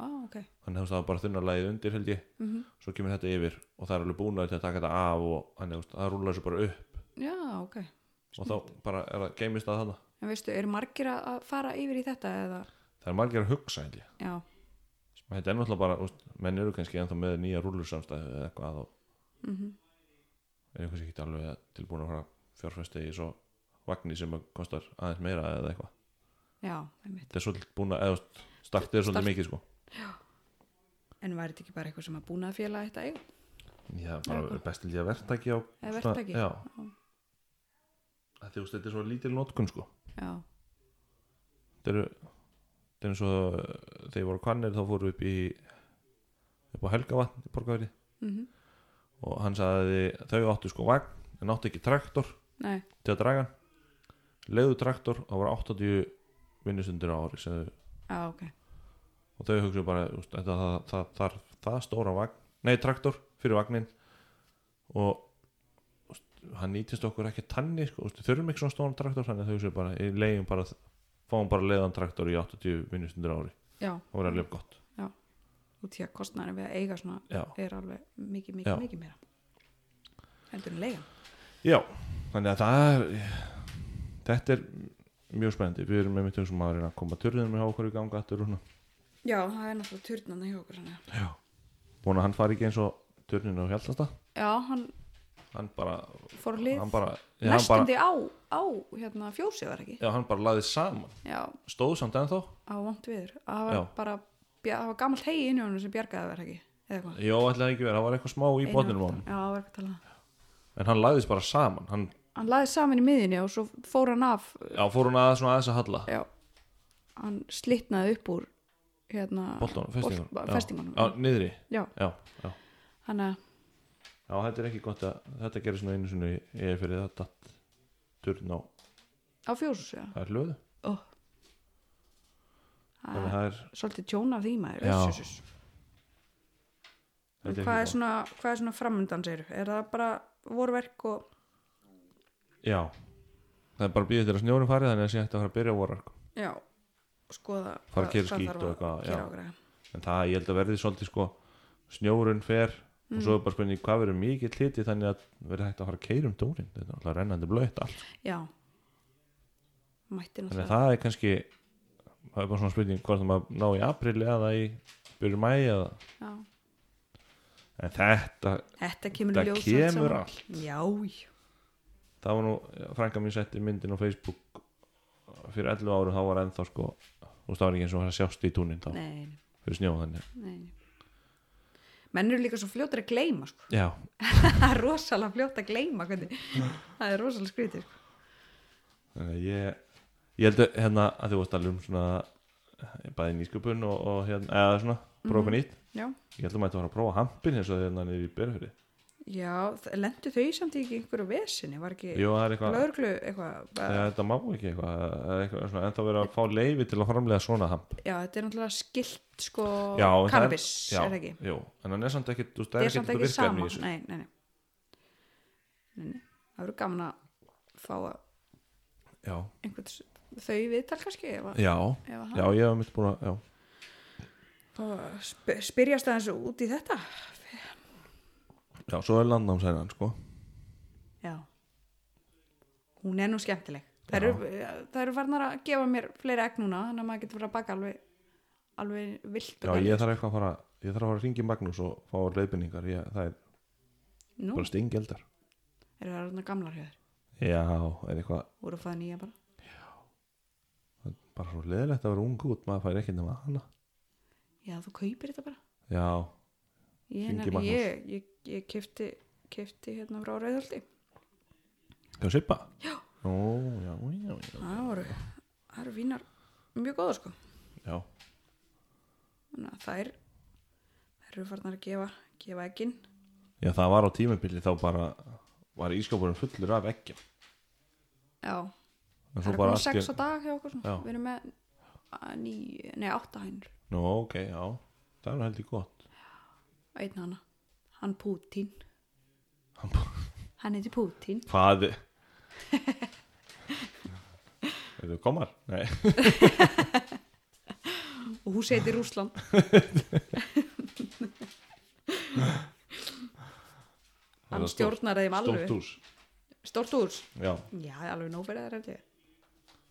Á, ok. þannig að það var bara þunnarlægið undir held ég Mhm. svo kemur þetta yfir og það er alveg búin til að taka þetta af og þannig að það rúlar þessu bara upp Já, ok. og þá bara er það geimist að þarna En veistu, eru margir að- að fara yfir í þetta eða? það er margir að hugsa held ég Já, og þetta er náttúrulega bara, úst, menn eru kannski ennþá með nýja rúlursamstæðu eða eitthvað og mm er kannski ekki alveg tilbúin að fara fjárfæsti í svo vagnir sem að kostar aðeins meira eða eitthvað já, einmitt. þetta er svolítið búin að, eða startið er svolítið Start- mikið sko En væri þetta ekki bara eitthvað sem að búna að fjöla þetta eiga? Já, bara best til því að verktaki á Eða svona- verktaki? Já, Já. Af því þú veist, þetta er svo lítil notkun sko já, Þetta eru Þetta er eins og uh, þegar ég voru kvannir þá fóru upp í upp á Helgavatn í Borgaveri mhm, og hann sagði að þau áttu sko vagn en áttu ekki traktor nei, til að draga hann leiðu traktor og það var 80 vinnustundir á ári sem þau já, ok og þau hugsaðu bara úst, þetta, það, það, það, það stóra vagn nei, traktor fyrir vagnin og úst, hann nýtist okkur ekki tanni sko, úst, þurfum ekki svona stóran traktor þannig að þau hugsaðu bara, í leiðum bara fáum bara leiðan traktor í 80 vinnustundir ári já, og verða alveg gott út í að kostnæðan við að eiga svona já. er alveg mikið, mikið, Já. mikið meira heldur en leigan já, þannig að það er þetta er mjög spennandi við erum með mitt hugsaum að reyna að koma törðunum hjá okkur í ganga aftur og svona já, það er náttúrulega turnana hjá okkur hann já. búin að hann fari ekki eins og törðunum á hjaldasta já, hann hann bara, fór á hlið hann bara, já, hann bara næstundi á, á hérna fjósið var ekki já, hann bara laði saman já, stóð samt ennþá á vant viður það var Já. bara, bja- það var gamalt hegi inn í honum sem bjargaði var ekki eða hvað Jó, ætlaði ekki verið, það var eitthvað smá í Einu botninum á aftan. hann já, það var eitthvað talað En hann lagðist bara saman Hann, hann laði saman í miðinni og svo fór hann af já, fór hún aðeins svona aðeins að halla já, hann slitnaði upp úr hérna Boltanum, festingunum bolt- Já. festingunum. Já, niðri já, Já, já hann að Já, þetta er ekki gott að Þetta gerir svona einu svona Ég er fyrir þetta Turn á á fjósus já. Það er hlöðu Oh. Þannig að það er svolítið tjón af því maður Já. uss, uss, uss. Þetta er Hvað, ekki er svona, hvað er svona framundan segir er það bara vorverk og gott Já Það er bara að býða til að snjórin fari Þannig að sé hægt að fara að byrja vorar já, Fara skoða að hvað- keyra hvað skít þarf og að eitthvað, gera já. og græja. En það, ég held að verði svolítið sko Snjórun fer Og Mm. svo er bara spurning hvað verður mikið hliti Þannig að verði hægt að fara að keira um dórin Þetta er alltaf rennandi blöitt allt sko. já mætti þannig að náttúrulega það er kannski það er bara svona spurning hvort það maður ná í april eða í byrju mæ eða já. en þetta, þetta kemur Þetta ljós allt kemur saman. allt. já, já. það var nú frænka mín setti myndin á Facebook fyrir 11 árum þá var ennþá sko þú veist það var ekki eins og það sjást í túnin þá Nei, nei, fyrir snjó þannig nei, nei. menn eru líka svo fljótar að gleyma sko. já, það er rosalega fljótt að gleyma hvernig. það er rosalega skrítið sko. þannig að ég ég held að hérna að þú varst alveg um svona eh, bæði nýsköpun og, og hérna eða svona prófa Mhm. mm nýtt já, ég held að maður ætti að fara að prófa hampin eins og hérna niður í byrjafyrir já lendu þau samt ekki í einhverju vesinni var ekki jú það er eitthvað lögreglu eitthvað eða bara- þetta má ekki eitthvað, eða eitthvað svona, en þá verið að fá leifi til að framlega svona hamp já, þetta er náttúrulega skilt sko já, en það cannabis, já, er það ekki jú, en hann er samt ekki, þú veist, það það er samt ekkert ekki virkefni sama í þessu. nei, nei, nei. Nei, nei. það verður gaman að fá að já, einhvern s- þau í viðtal kannski ef að, já, ef að já, hann ég hef mitt búin að já, fá að sp spyrjast aðeins út í þetta já, svo er landnámsæðan sko, já hún er nú skemmtileg það eru, það eru farnar að gefa mér fleiri egg núna þannig að maður getur verið að baka alveg alveg vilt já, ég þarf eitthvað að fara ég þarf að fara að ringi Magnús og fá leifinningar ég, það er nú bara stingeldar eru það orðnar gamlar hér já, er eitthvað, voru að fæða nýja bara bara svo leðilegt að vera ung út maður fær ekki nema hana já þú kaupir þetta bara já, ég, Hringi nefnir, Magnús. ég, ég, ég kefti, kefti hérna frá Rauðhaldi kannski sippa já, Ó, já, já, já, það voru, það eru vínar mjög góða sko já. þannig að þær þær eru farnar að gefa, gefa ekkin já, það var á tímabili þá bara var ískapurum fullur af ekki já, en það svo eru bara komið allt í- sex á dag hjá okkur svona. Já. við erum með að, ný, nei, átta hænur nú, ok, já, það er nú heldur gott einn hana, hann Pútín Hann hann heiti Pútín Hvað Er þau komar? Nei og hún seti Rúsland hann Það er stórt- stjórnar þeim alveg Stórt hús stórt úr Já já, það er alveg nófærið þar held ég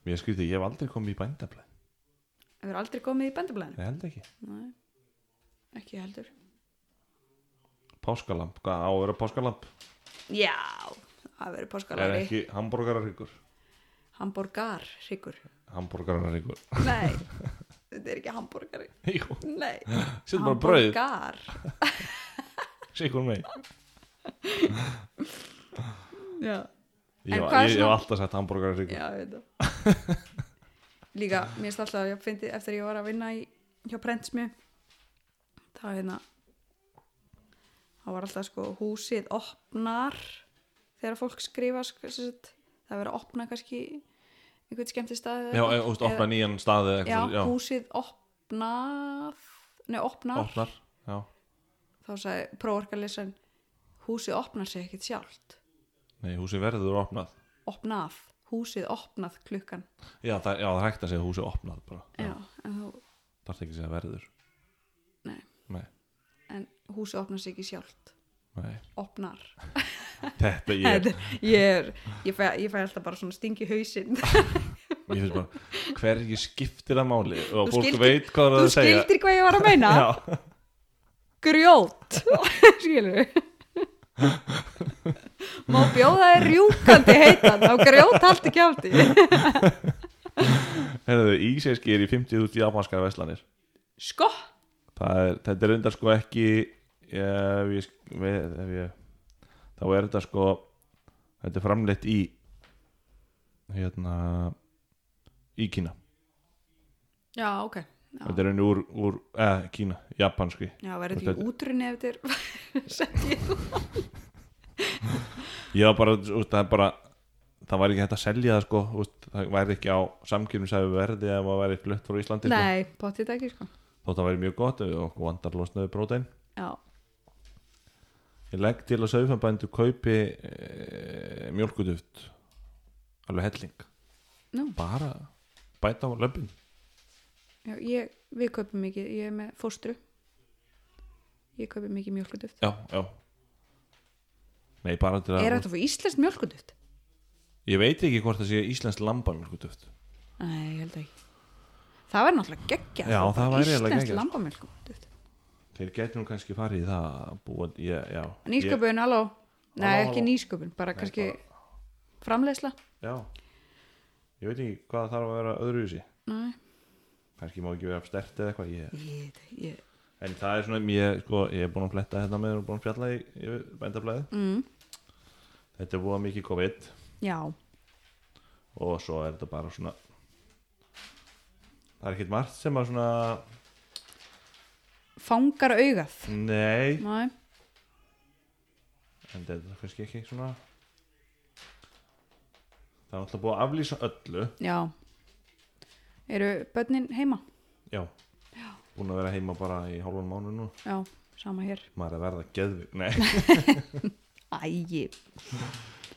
Mér skrýti, ég hef aldrei komið í bændabla það verður aldrei komið í bændablaðinu Ég held ekki Nei, ekki heldur Páskalamp, hvað á að vera páskalamp? Já, það verður Er páskalari ekki hambúrgararíkur? Hamborgar hryggur Hambúrgararíkur Nei, þetta er ekki hamborgari Jú, Nei, setur bara brauð Hamborgar. Sikur mig já, Ég, En ég, hvað ég er hef svona- alltaf sett hambúrgar já, ég veit það líka, mér erst alltaf að ég fyndi eftir ég var að vinna í, hjá prentsmi það var hérna það var alltaf sko húsið opnar þegar fólk skrifa sk- sem sagt, það er verið að opna kannski einhvern skemmtist að Já, eða, þú veist, opna nýjan stað eða eh, já, eitthvað, já, húsið opnað nei, opnar opnar Já, þá sagði próforkarlesan húsið opnar sig ekkit sjálft nei, húsi verður opnað opnað, húsið opnað klukkan Já, það, já, það er hægt að segja húsi opnað bara já, en, þú, Það er ekki að segja verður Nei. Nei, en húsið opnar sig ekki sjálft nei opnar Þetta ég, Þetta- ég, er, ég, fæ, ég fæ alltaf bara svona stingi hausinn ég finnst bara Hverju skiptir það máli Og Þú fólk skildir- veit hvað það er þú að segja skildir hvað ég var að meina Já, grjót skilur má bjóða þér rjúkandi heitan á grjót haldi kjátti herðu, ísæski er í 50.000 japanskar veslanir sko, Það er, þetta er undar sko ekki ef ég, sk- við, ef ég þá er þetta sko þetta er framleitt í hérna í Kína, já ok já, þetta er henni úr, úr eh, Kína, japanski já verður þetta ekki útrunni eftir sett ég ég var bara, úst, það er bara það væri ekki hægt að selja það sko úst, það væri ekki á samkjörnum sæðu verði ef það væri flutt frá Íslandi sko. Nei, potið ekki sko þótt það væri mjög gott ef okkur vandar losnaði brótein Já, ég legg til að saufanbændu kaupi e, mjölkuduft alveg helling nú, bara bæta á löpin já, ég, við kaupum mikið Ég er með fóstru Ég kaupi mikið mjölkuduft já, já nei, bara til að Er þetta fyrir íslenskt mjölkuduft? ég veit ekki hvort það sé sko, íslensk lambamjölkuduft Nei, ég held ekki Það væri náttúrulega geggja Já, það væri eiginlega Íslenskt geggjað, sko. lambamjölkuduft þeir gæti nú kannski farið í það að búa, ég, já, ég, Nýsköpun, aló Nei, Halló, ekki halló. nýsköpun, bara kannski framleiðsla já ég veit ekki hvað þarf að vera öðruvísi Nei, kannski má ekki vera stert eða eitthvað ég, ég, ég en það er svona, ég, sko, ég er búin að fletta hérna með og búin að fjalla í, í bændablaði mm, þetta er búið mikið COVID Já, og svo er þetta bara svona það er ekkert margt sem að svona fangar augað nei, Nei, en þetta er kannski ekki svona það er alltaf búið að aflýsa öllu já Eru börnin heima? já, búin að vera heima bara í hálfan mánu nú, Já, sama hér maður er að verða geðvig nei, Æi,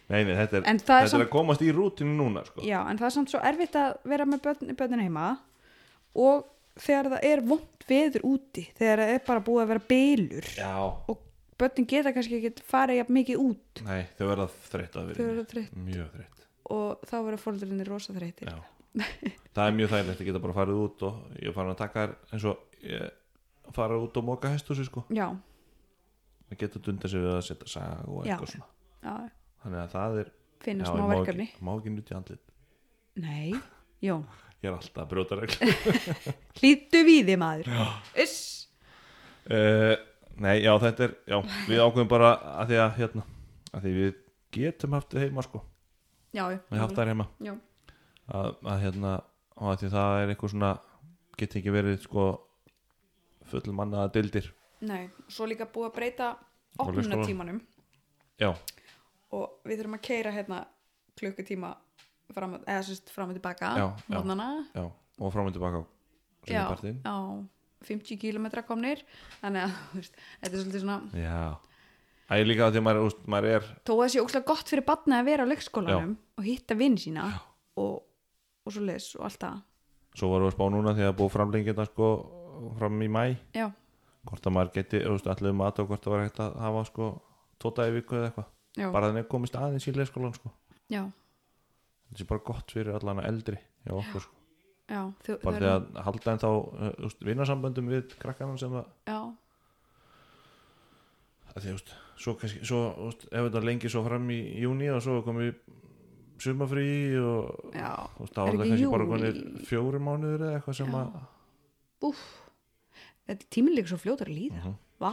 nei, nei þetta, er, En það þetta er er, samt- að komast í rútinu núna sko. Já, en það er samt svo erfitt að vera með börn, börnin heima og þegar það er vond veður úti, þegar það er bara búið að vera bylur já, og börnin geta kannski ekki farið jafn mikið út nei, þau verða þreytt að þau vera eru inni. þreytt mjög þreytt og þá verður fóreldrinni rosa þreyttir. já. það er mjög þægilegt að geta bara farið út og ég er farin að taka þær eins og ég, fara út og moka hestúsi sko Já, að geta dundar sér við að setja sag og Já. eitthvað svona já, þannig að það er finna já, smá ég má verkefni. ekki, má ekki nuti andlit Nei, já, ég er alltaf að brjóta regl hlýttu við þið maður. Uss, uh, nei já þetta er já, við ákveðum bara að því að hérna að því við getum haft þau heima sko já, já, við haft þær heima já, að, að hérna og að því það er eitthvað svona geti ekki verið sko full mannaða dildir nei, svo líka búið að breyta Og leikskóla. opnunatímanum já og við þurfum að keira hérna klukkutíma fram, eða sérst fram og tilbaka Já, já. mótnana já og fram og tilbaka á já, sunnpartin já, 50 km komnir þannig að þú veist, þetta er svolítið svona já að ég líka að því að maður, úst, maður er þó að það sé ókslega gott fyrir batna að vera á leikskólanum og hitta vinn sína og, og svo leis og allt það svo vorum við að spá núna því að búið framlengina sko fram í mæ já, hvort að maður geti, þú veist, allir um aðtöð hvort það var hægt að hafa sko tóta í viku eða eitthvað, já, bara þannig að komist aðeins í leikskólan sko, já, þetta er bara gott fyrir allan að eldri hjá okkur sko, já þau, þau bara eru- því að halda en þá, þú veist, vinnarsamböndum við krakkanum sem að, já, að því, þú veist, svo kannski, svo, þú veist, ef þetta lengi svo fram í júni og svo komum við sumafrí og, já, þú veist, þá Er er það ekki kannski bara júní? konir fjóri mánuður eða eitthvað sem Já. að, úf þetta er tíminn líka svo fljótar að líða Mhm. vá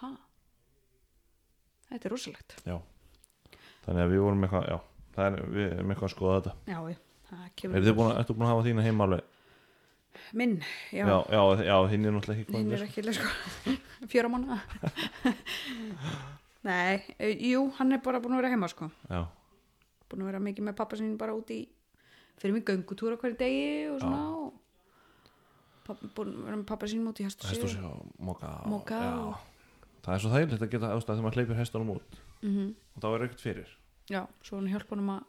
ha þetta er rosalegt þannig að við vorum eitthvað, já það er, við erum eitthvað að skoða þetta já, já, það kemur er þið búin að, ertu búin að hafa þína heima alveg minn, já, já, já, já hinn er náttúrulega ekki hinn komin er ekki leið, sko, fjóra mánuða nei, eh, jú, hann er bara búin að vera heima sko já, búin að vera mikið með pappa sinni bara út í fyrir mig göngutúra hverju degi og svona Já. og pappa, búin að vera með pappa sinni út í hestu hestur sig á moka, og- Moka og- já. það er svo þægilegt að geta ástæð þegar maður hleypir hestunum út mm -hmm. og þá er ekkert fyrir já, svo hann hjálpa honum að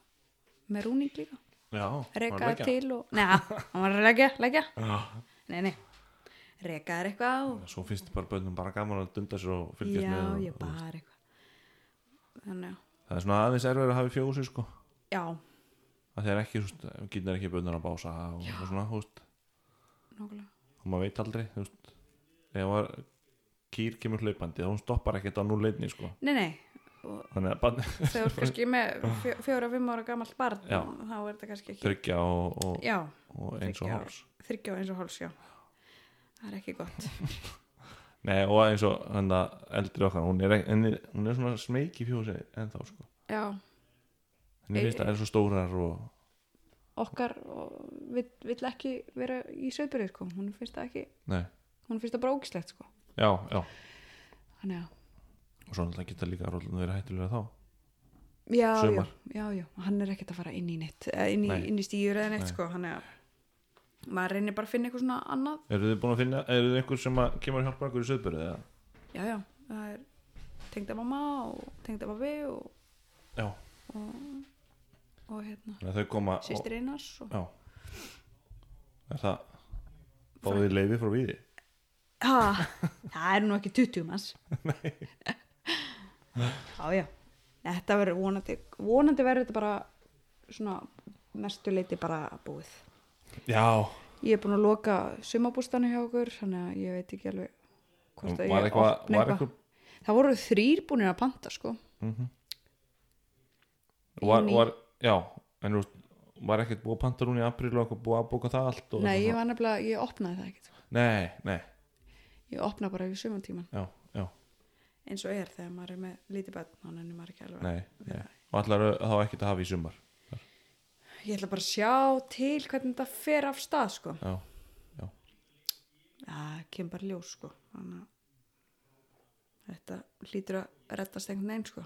með rúning líka, já, maður reka leggja. til og neða, hann var að leggja, leggja já, nei, nei, reka er eitthvað og svo finnst bara bönnum bara gaman að dunda sér og fylgjast já, með og- ég bara eitthvað þannig að, það er svona aðeins erfið að hafa í fjósi sko já, að þeir ekki, þú veist, gynnar ekki bönnur að bása og, og svona, þú veist nákvæmlega og maður veit aldrei, þú veist ef var, kýr kemur hlaupandi þá hún stoppar ekkert á núleitni sko nei, nei, og þannig að bann þegar þú ert kannski með fjó- fjóra, fimm ára gamalt barn Já. þá er þetta kannski ekki þryggja og, og, já, og eins og þriggja. háls þryggja og eins og háls, já það er ekki gott Nei, og eins og hann að eldri okkar hún er, ekki- henni, hún er svona smeyk í fjósi en þá sko já, henni finnst að það er svo stórar og okkar og vill, vill ekki vera í söðbyrði sko, hún finnst það ekki nei, hún finnst það bara ógislegt sko já, já þannig að og svo náttúrulega geta líka rólun verið hættulega þá Já, já, Sumar. já, já, hann er ekkert að fara inn í neitt eh, inn í, Nei. inn í stíður eða neitt Nei. sko, hann er að maður reynir bara að finna eitthvað svona annað eru þið búin að finna, eru þið einhver sem að kemur að hjálpa okkur í söðbyrði eða? já, já, það er tengda mamma og tengda pabbi og, Já, og, og hérna þannig að þau koma og- sýstir Einars og, Já Er það Báðið leiði frá viði ha, það er nú ekki 20 manns já, já þetta verður vonandi vonandi verður þetta bara svona mestu leiti bara búið Já ég er búin að loka sumabústanu hjá okkur þannig að ég veit ekki alveg hvort Var að ég eitthvað- opna var eitthvað. eitthvað- Mhm. það voru þrýr búinir að panta sko var, Júní. var, Já En þú veist, var ekkert búið að panta hún í apríl og eitthvað búið að bóka það allt og nei, eitthvað ég var nefnilega, ég opnaði það ekkert sko. svona? Nei, nei, ég opnaði bara yfir sumantíman já, já, eins og er þegar maður er með lítið börn þannig er maður ekki alveg nei, nei. Og allar þá ekkert að hafa í sumar ég ætla bara að sjá til hvernig þetta fer af stað sko Já, það kemur bara í ljós sko þannig að þetta hlýtur að rettast einhvern veginn sko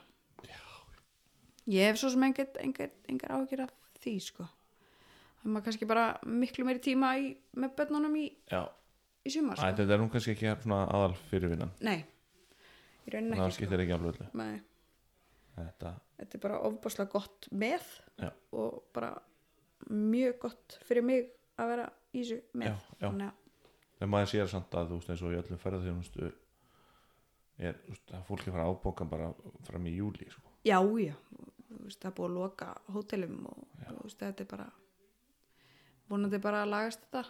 ég hef svo sem engar, engar, engar áhyggjur af því sko það er maður kannski bara miklu meiri tíma í, með börnunum í, já í sumar Æ, sko. Þetta er nú kannski ekki svona aðal fyrirvinnan nei, ég raunin Það ekki sko. skiptir ekki alveg öllu nei, Þetta, þetta er bara ofbáslega gott með Já. og bara mjög gott fyrir mig að vera í þessu með Já, já. Þannig að, en maður sér samt að þú veist eins og í öllum ferðarþjónustu er, þú veist, að fólki fara að ábóka bara fram í júli, sko já, já þú veist, það er búið að loka hótelum og þú veist, þetta er bara vonandi bara að lagast þetta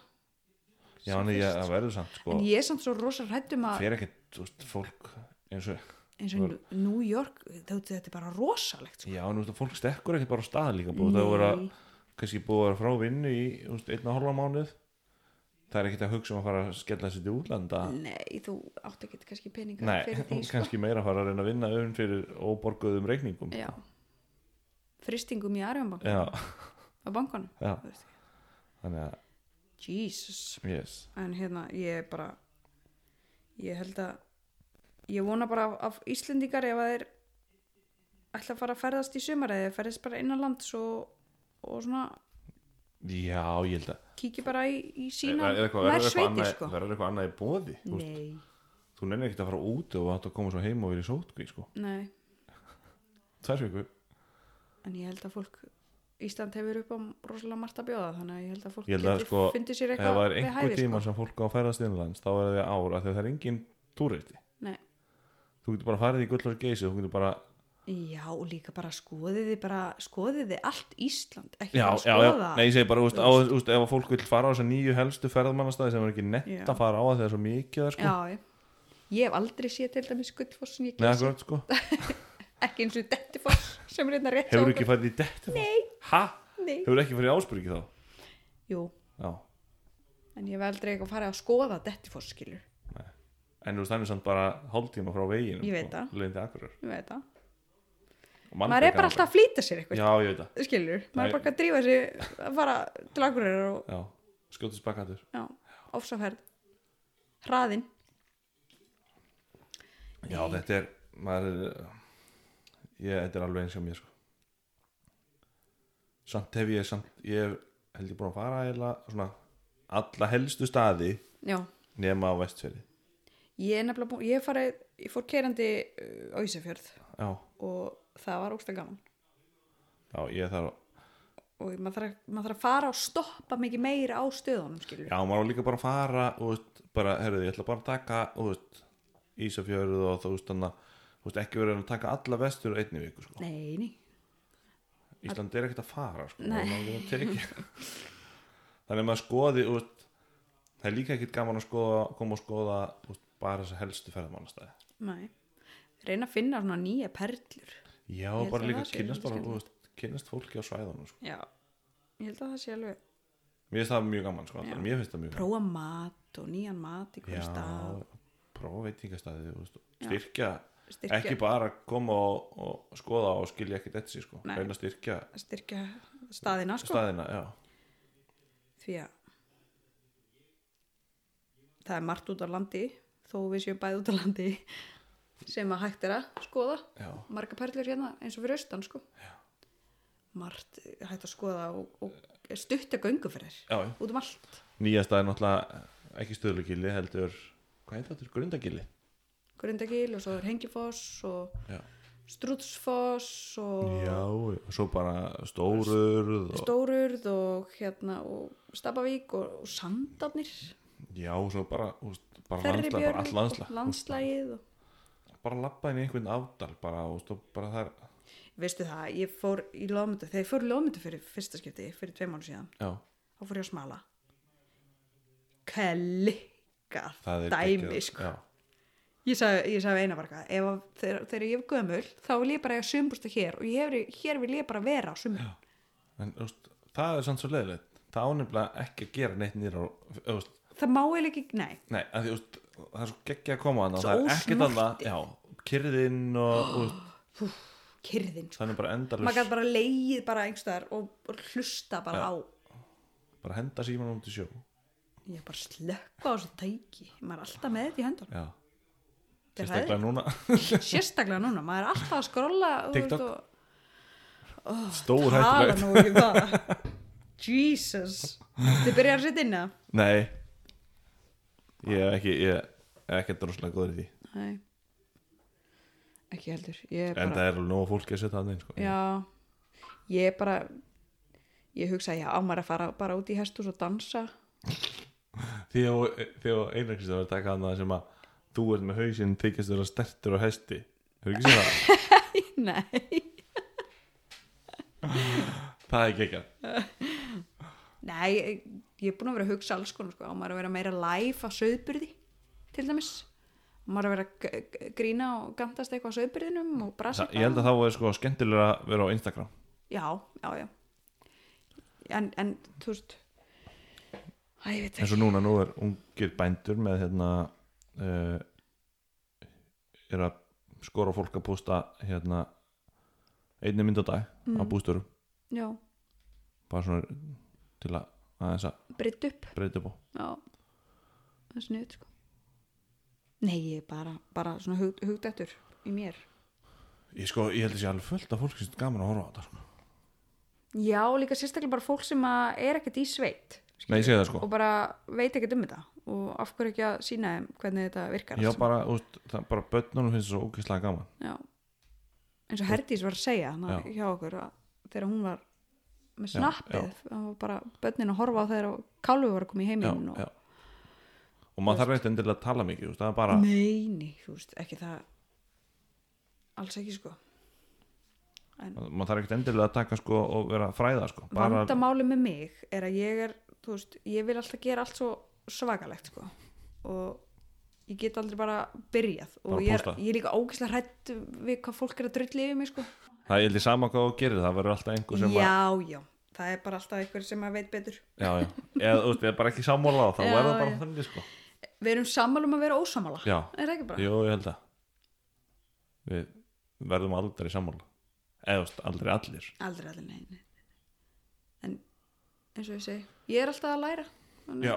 Já, en ég, það verður samt, sko en ég er samt svo rosa hrættum að fer ekkert, þú veist, fólk eins og, eins og í New York þú veist, þetta er bara rosalegt sko. já, en þú veist að fólk stekkur ekkert bara á stað líka búið, það voru að Nei. kannski búið að vera frá vinnu í, þú veist, einn og halva mánuð það er ekkert að hugsa um að fara að skella sér til útlanda nei, þú átt ekki kannski peninga Nei, fyrir því sko. kannski meira að fara að reyna að vinna öfn fyrir óborguðum reikningum já fristingum í Arjónbank já, á bankanum já. þú veist. þannig að, Jesus yes en hérna, ég er bara ég held að ég vona bara af, af Íslendingar ef að þeir ætla að fara að ferðast í sumar eða þeir ferðast bara innan lands og, og svona Já, ég held að kíkja bara í, í sína Er- er eitthvað- verður nær eitthvað sveiti annað- sko verður eitthvað annað í bóði þú, veist, nei, þú nennir ekkert að fara út og átt að koma svo heim og verið sótkví sko. nei, Tvær vikur en ég held að fólk Ísland hefur upp á rosalega margt að bjóða þannig að ég held að fólk Ég held að, getur sko, fundið sér ef það eitthvað er við einhver hæfi, sko. tíma sem fólk á að ferðast innanlands þá er það ár af því að það er engin túristi sko. Nei. þú getur bara farið í gullur geysi þú getur bara, já, og líka bara skoðið þið bara skoðið þið allt Ísland ekki já, bara já, skoða já, nei ég segi bara úst, á, úst, ef að fólk vil fara á þess að nýju helstu ferðmannastæði sem er ekki nett Já. að fara á að það er svo mikið þar, sko. Já, ég. ég hef aldrei séð til dæmis Gullfoss sem ég Nei, kemst akkurat, sko. ekki eins og Dettifoss sem er hérna rétt hjá hefur okkur. ekki farið í detti ha? Nei. hefur ekki farið í ásbyrgi þá Jú, já. en ég hef aldrei eitthvað farið að skoða Dettifoss skilur, en þú veist þannig samt bara hálftíma frá veginu Ég veit það. sko, leiðin til akkurat ég veit það maður er bara alltaf að flýta sér eitthvað Já, ég veit það skilur, Nei. maður er bara að drífa sér að fara til akkurir og Já, skjótist bakaður já, ofsaferð hraðinn Já, þetta er maður er, ég, þetta er alveg eins hjá mér sko. samt hef ég samt, ég hef- held ég búin að fara eða svona alla helstu staði já, nema á vestfjöri ég er nefnilega búin, ég hef farið ég fór keirandi á Ísafjörð Já, og það var ógsta gaman já, ég þarf og maður þarf, að- maður þarf að fara og stoppa mikið meira á stöðunum skilur Já, maður á líka bara að fara og veist, bara, herruðu, ég ætla bara að taka og veist, Ísafjörðu og þú veist þannig að þú veist, ekki verið að taka alla vestur á einni viku, sko. nei, nei, Ísland er ekkert að fara, sko. Nei. Maður er að teki. Þannig að maður skoði, þú veist, það er líka ekkert gaman að skoða, koma og skoða þú veist, bara þessa helstu ferðamannastæði. nei reyna að finna svona nýja perlur Já, held að bara líka það sé kynnast bara, skemmtilegt. þú veist, kynnast fólki á svæðunum, sko. já, ég held að það sé alveg Mér finnst það mjög gaman, sko. Já. Þannig að Mér finnst það mjög gaman. prófa mat og nýjan mat í hverju stað Já, prófa veitingastæði, þú veist, Já. styrkja styrkja, ekki bara koma og, og skoða og skilja ekkert eftir sig sko Nei. reyna að styrkja styrkja staðina sko staðina já. því að það er margt út á landi þó við séum bæði út á landi sem að hægt er að skoða Já. marga perlur hérna eins og fyrir austan sko já. margt hægt að skoða og, og stutta gönguferðir Já, já. út um allt nýja staði náttúrulega ekki stöðlugili heldur hvað heit þetta, grundagili Grundagil og svo er Hengifoss og já. Strutsfoss og já, og svo bara stórurð og, Stórurð og hérna og Stabavík og, og Sandarnir já, svo bara, úst, bara landslag, bara Ferribjörn all landslag og landslægið og Úst, bara labba inn í einhvern afdal bara, úst, og bara þar veistu það, ég fór í loðmyndu þegar ég fór í loðmyndu fyrir fyrsta skipti fyrir tvei mánu síðan, já, þá fór ég að smala klikkað það er dæmi geggjað, sko. já. ég sagði, ég sagði eina varga ef, að- þegar, þegar ég er gömul þá vil ég bara eiga sumbústa hér og ég hef, hér vil ég bara vera á sumur en úst, það er sann svo leiðilegt það ánefnilega ekki að gera neitt nýra úst, það má ég ekki, nei Nei, að því, úst, það er svo geggja að koma þannig Svo Það er ekkert ósnortið. annað, já, kyrðinn og úst, kyrðin, sko. þannig bara endalus maður gæti bara leið bara einhverstaðar og, og hlusta bara Já. á bara henda símanum út í sjó ég er bara að slökka á þessu tæki maður er alltaf með þetta í höndunum já, Þetta er sérstaklega núna sérstaklega núna, maður er alltaf að skrolla TikTok. og stór tala hættulegt nú ekki bara Jesus þið byrjar að setja inn að nei, ég er ekki ég er ekki droslega góður í því Nei. ekki heldur ég er en bara, það er alveg nóg fólki að setja það inn sko. já ég er bara ég hugsa já, á maður að fara bara út í hestus og dansa því að því að Einar Kristján var að taka hann sem að þú ert með hausinn þykist þú að stertur og hesti hefur ekki séð það? nei, það er geggja nei ég, ég er búin að vera að hugsa alls konar sko. á maður að vera meira live að söðbyrði til dæmis á maður að vera að g- g- grína og gantast eitthvað á söðbyrðinum og brasa ég held að það var sko skemmtilega að vera á Instagram já, já, já en, en þú veist Æ, ég veit eins ekki og núna, nú er ungir bændur með hérna uh, er að skora á fólk að posta hérna einni mynd á dag á Mm. bústurum já, bara svona til að aðeins að breytt upp breyta upp á já, það er sniðut sko nei, ég er bara, bara svona hug, hugdættur í mér ég sko, ég held að sé alveg fullt af fólk sem er gaman að horfa á þetta sko. já, líka sérstaklega bara fólk sem að er ekkert í sveit nei, ég segi það sko og bara veit ekkert um þetta og af hverju ekki að sína þeim hvernig þetta virkar já, allt saman. bara, úst, það, bara börnunum finnst það svo ógeðslega gaman já. eins og Herdís var að segja hana, Já. hjá okkur að þegar hún var með Já, snappið það var bara börnin að horfa á þegar kálfu var að koma í heiminn og já, já. og maður þarf ekkert endilega að tala mikið úst, það er bara, Nei, nei, þú veist, ekki það alls ekki sko maður þarf ekkert endilega að taka sko og vera að fræða sko bara, vandamáli með mig er að ég er þú veist, ég vil alltaf gera allt svo svakalegt sko og ég get aldrei bara byrjað og Bara ég er, pósta. ég er líka ógæslega hrætt við hvað fólk er að drulli yfir mig sko það er ég held ég sama hvað þú gerir það verður alltaf einhver Sko sem að Já, já, það er bara alltaf einhver sem að veit betur já, já. eða þú veist, eða bara ekki sammála á þá Já, er það bara já. þannig sko Við erum sammála um að vera ósammála Já. Er það ekki bara? Jú, ég held að við verðum aldrei sammála eða þú veist, aldrei allir aldrei allir neini en eins og ég segi ég er alltaf að læra þannig- já,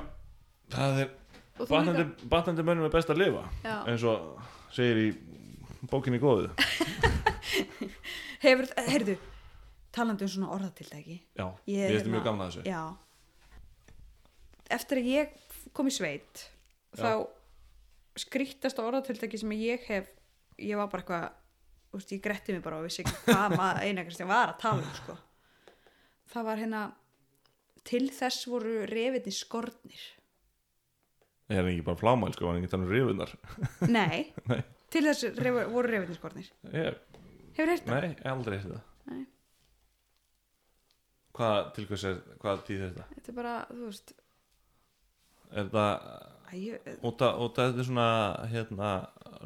það er og þú líka batnandi, batnandi mönnum er best að lifa Já. eins og segir í bókinni góðu hefur, heyrðu, talandi um svona orðatildæki já, Ég ég veist hérna- mjög gaman að þessu já eftir að ég kom í sveit þá skrýttasta orðatildæki sem ég hef ég var bara eitthvað þú veist, ég gretti mig bara og vissi ekki hvað maður eina Kristján var að tala um sko. það var hérna til þess voru refinni skornir er hann ekki bara flámæl sko, hann er ekki þannig rifunar nei, Nei. til þess ref, voru refinni skornir ég, hefur heyrt það? nei, aldrei eftir það Nei. hvað til hvers er hvað tíð þetta þetta er bara, þú veist er það æ, ég, út af út af þetta er svona hérna,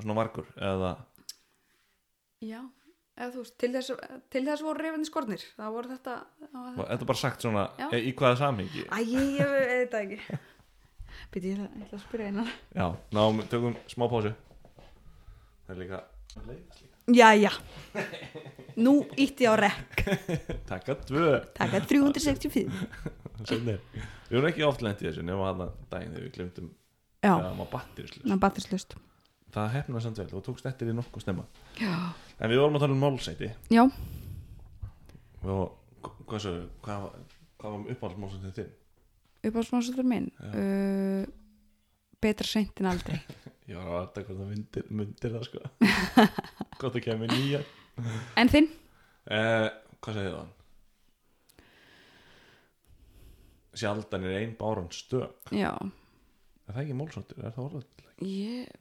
svona vargur eða já, eða þú veist til þess, til þess voru refinni skornir það voru þetta það var var- þetta er bara sagt svona Já. e, í hvaða samhengi Æ, ég ég veit það ekki Býti, ég ætla, ég ætla að spyrja einar já, náum, tökum smá pásu það er líka Jæja Nú ítti ég á rekk taka tvö Taka 365 Seinni. við erum ekki oft lent í þessu nema hann daginn þegar við glemtum Já, að maður battir ná batterslust það hefnaði samt vel, þú tókst eftir í nokkuð snemma Já, en við vorum að tala um málsæti já og hvað, svo, hvað, var- hvað var uppáhaldsmálsætið þinn? uppáhaldsmálsöldur minn uh, Betra seint en aldrei ég var að varta hvort það myndir, myndir það sko hvort það kemur nýja En þinn? Eh, hvað segir það hann? Sjaldan er ein báran stö Er Já það ekki málsóttir? Er það orðið? Ég,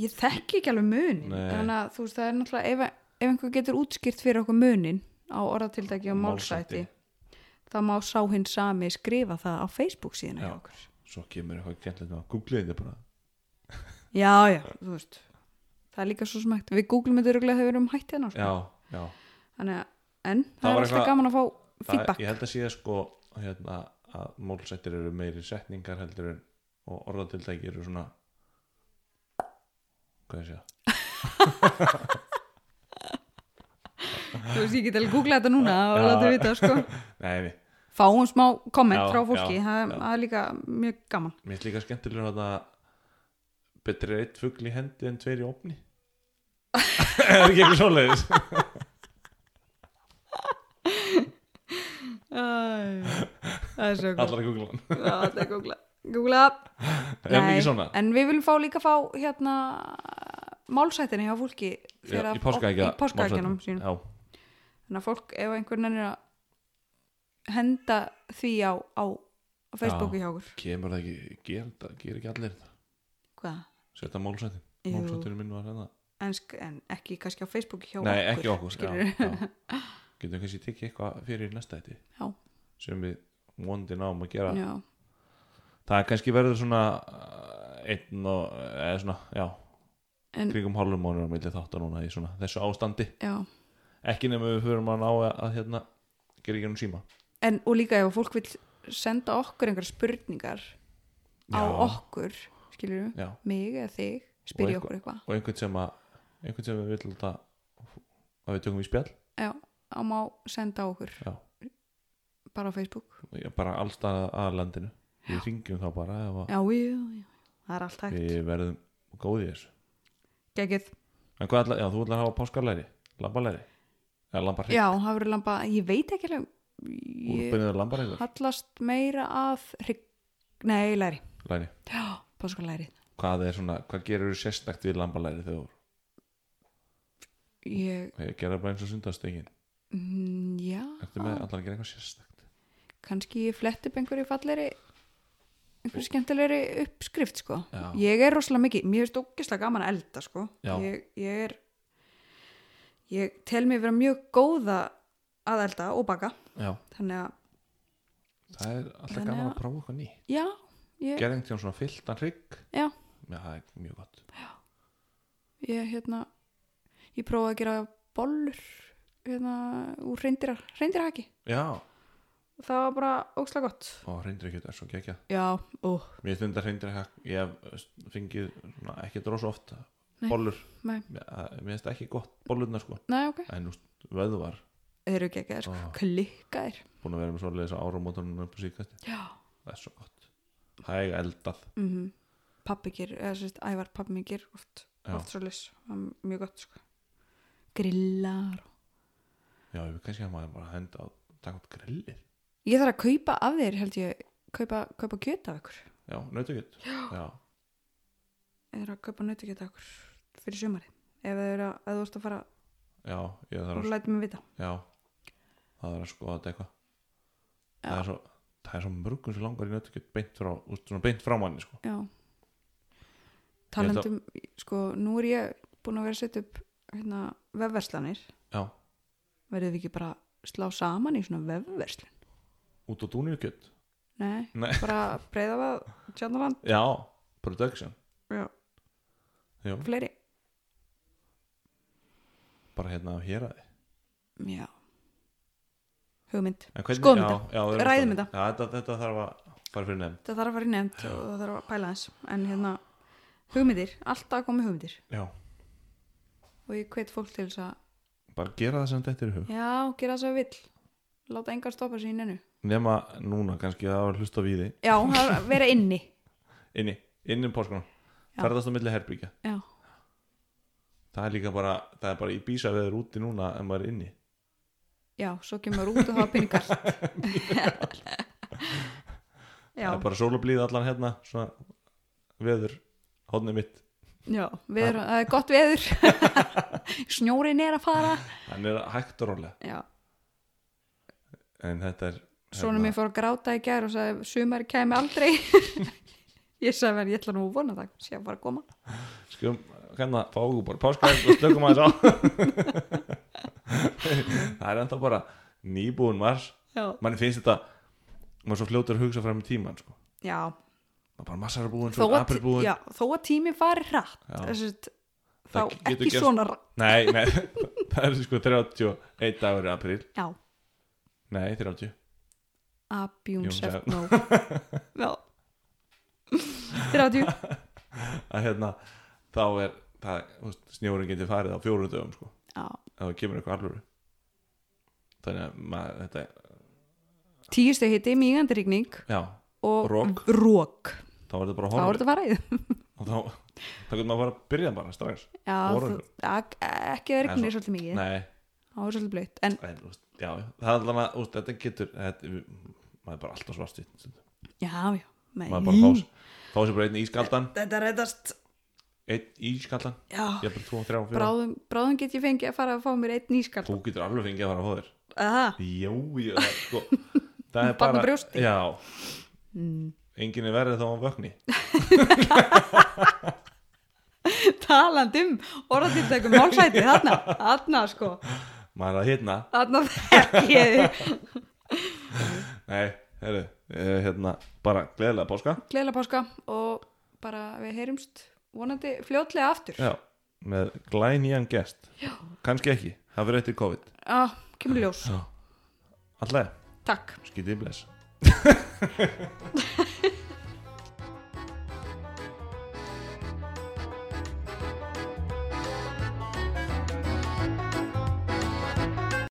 ég þekki ekki alveg munin Nei. Þannig að þú veist, það er náttúrulega ef, ef einhver getur útskýrt fyrir okkur munin á orðatildæki og málsæti þá má sá hinn sami skrifa það á Facebook síðan Já. Svo kemur eitthvað kjentlega að googla þetta bara Já, já, þú veist Það er líka svo smækt, við googlum þetta röglega þegar við erum hætt hérna sko. Já, já Þannig að en það, var er alltaf eitthvað- gaman að fá það, feedback Ég held að sé sko hérna, að málsættir eru meiri setningar heldur en og orðatildæki eru svona Hvað sé það? Þú veist, ég get alveg googlað þetta núna og Já. láta vita sko. Nei, nei, Fáum smá komment Já, frá fólki já, það, já. það er líka mjög gaman mér er líka skemmtilega að betri er eitt fugl í hendi en tveir í opni Er ekki eitthvað svoleiðis? Æ, Það er svo Allar að googla hann Já, það er googlað Googlað Er það ekki svona? en við viljum fá líka fá hérna málsættinni hjá fólki Já, þegar í að- páskaækja í páskaækjanum sínum já, þannig að fólk ef einhvern veginn er að henda því á, á, á Facebooku Já. hjá okkur kemur það ekki, ger, það, ger ekki allir það hvað, setja málsættin, Jú. málsættin minn var hérna en, sk- en ekki kannski á Facebooku hjá nei, okkur ekki okkur já, skilurðu? já. getum við kannski tekið eitthvað fyrir næsta þetta Já. sem við vondi náum að gera já, það kannski verður svona uh, einn og, eða svona, já En- kringum hálfum mánu á milli þáttar núna í svona þessu ástandi, já. ekki nema við fyrir að ná að, að hérna, gera ekki um síma En, og líka ef fólk vil senda okkur einhverja spurningar á Já. okkur skilur við, já, mig eða þig spyrja Og okkur eitthvað og einhvern sem að einhvern sem við viljum þetta að við tökum í spjall já, á má senda á okkur Já. bara á Facebook Já, bara allstað að landinu við ringjum þá bara ef að já, já, já, það er allt hægt við verðum góð í þessu Gekið. en hvað ætla, já þú ætlar að hafa páskalæri lambalæri, eða lambarhrein já, það verður lamba, ég veit ekki alveg ég úrbeinu lambarhrein hallast meira að hrygg, nei, læri læri, já, páskulæri hvað er svona, hvað gerur þú sérstakt við lambalæri þegar ég, þú gerur bara eins og sundastegin mm, já eftir með allar að gera eitthvað sérstakt kannski ég flett upp einhverju falleri einhverju skemmtilegri uppskrift sko. Já. ég er rosalega mikið mér finnst ógislega gaman að elda sko. Já. ég, ég er ég tel mig vera mjög góða að elda og baka já, þannig að, það er alltaf Þannig gaman að- að prófa eitthvað ný já, ég, gerðin til svona fylltan hrygg já já, það er mjög gott ég hérna ég prófaði að gera bollur hérna úr reyndir reyndirhaki, já, það var bara ógislega gott og hreindur ekki, er svo gekkja já, ó, mér stundar hreindur ekki, ég hef fengið svona, ekki dros oft Nei. bollur nei, mér mér finnst það ekki gott bollurna sko nei, ok en úst, vöðvar þeir eru ekki ekki sko, klikkaðir búin að vera með svona leisa áramótanum upp á síkast já, það er svo gott hæg eldað mhm pappi ger, eða sérst, ævar pappi minn ger oft, Já. oft svo lis, mjög gott sko. grillar og- já, við kannski að maður bara að henda að taka út grillið ég þarf að kaupa af þér held ég kaupa, kaupa kjöt af ykkur já, nautakjöt já, ég þarf að kaupa nautakjöt af ykkur fyrir sumari ef þau eru að, ef þú ert að fara já, ég þarf og að læta mig vita já, það er að skoða þetta eitthvað það er svo það er svo mörgum sem langar í nautakjöt beint frá, úst, svona beint frá manni sko. já held að- talandum, sko, nú er ég búin að vera að setja upp hérna, vefverslanir já, verðum við ekki bara að slá saman í svona vefverslun út á dúnirkjöt nei, Nei. bara breyða að tjarnaland, já, production já, já, fleiri bara hérna á héraði já hugmynd En hvernig- Skoðum já, þetta. já, við erum Ræðum að- þetta. já, þetta, þetta þarf að fara fyrir nefnd það þarf að fara í nefnd og það þarf að pæla þess en hérna, hugmyndir, alltaf komið hugmyndir já, og ég hvet fólk til þess að bara gera það sem þetta er í hug já, gera þess að vill láta engan stoppa sig í nennu nema núna kannski að það var hlusta við þið já, það er að vera inni inni, inni um páskunum Já. ferðast á milli herbyggja já, það er líka bara, það er bara í bísa veður úti núna en maður er inni já, svo kemur út og það er pinningar já, það er bara sólablíð allan hérna svona veður, hodni mitt já veður, það er gott veður snjórin er að fara hann er hægt og rólega já, en þetta er svona mér fór að gráta í gær og sagði, sumar kemi aldrei ég sagði verið, ég ætla nú að vona það sé að fara að koma skum, hérna, fáðu bara páskvæð og slökum aðeins á það er ennþá bara nýbúin mars já, manni finnst þetta maður er svo fljótur að hugsa fram í tíman sko. já maður bara massar er búin, þó svo að, apri búin já, þó að tíminn fari hratt Já. þessi, þá Það getur ekki gerst. svona hratt nei, nei, það er sko 31 dagur í apríl já, Nei, 30 Jón abjún sagði- seft nú já 30, að hérna, þá er það, þú veist, snjórin getur farið á fjórum dögum sko, já, ef það kemur eitthvað alvöru þannig að maður, þetta, tíu steg hitti mýgandi rigning já, og Rok. rok. þá er þetta bara þá er horfið þetta farið og þá, þá getur maður bara að byrja bara strax já, Horfið. þú- ak- ekki að En rignir svo- svolítið mikið nei, það var svolítið blöytt en en, þú veist, já, já, það er allan að, þú veist, þetta getur þetta, maður er bara alltaf svart maður já, já, nei er bara fás fá sér bara einn ískaldan þetta reddast einn ískaldan, já, ég er bara 2, 3, 4 bráðum, bráðum get ég fengið að fara að fá mér einn ískall þú getur alveg fengið að fara að fá þér aha, Jó, ég, það, sko, það er Barn á bara brjósti. Mm. Já Engin er verið þá hann vökni talandi um orðatýrtækum málsæti, þarna, þarna sko Maður er að hérna þarna þekk ég þig Nei, heyrðu, eh, hérna Bara gleðilega páska gleðilega páska og bara við heyrumst vonandi fljótlega aftur Já, með glænýjan gest Já Kannski ekki, það verið eftir COVID ah, kemur í ljós, Alltaf, takk skítið bless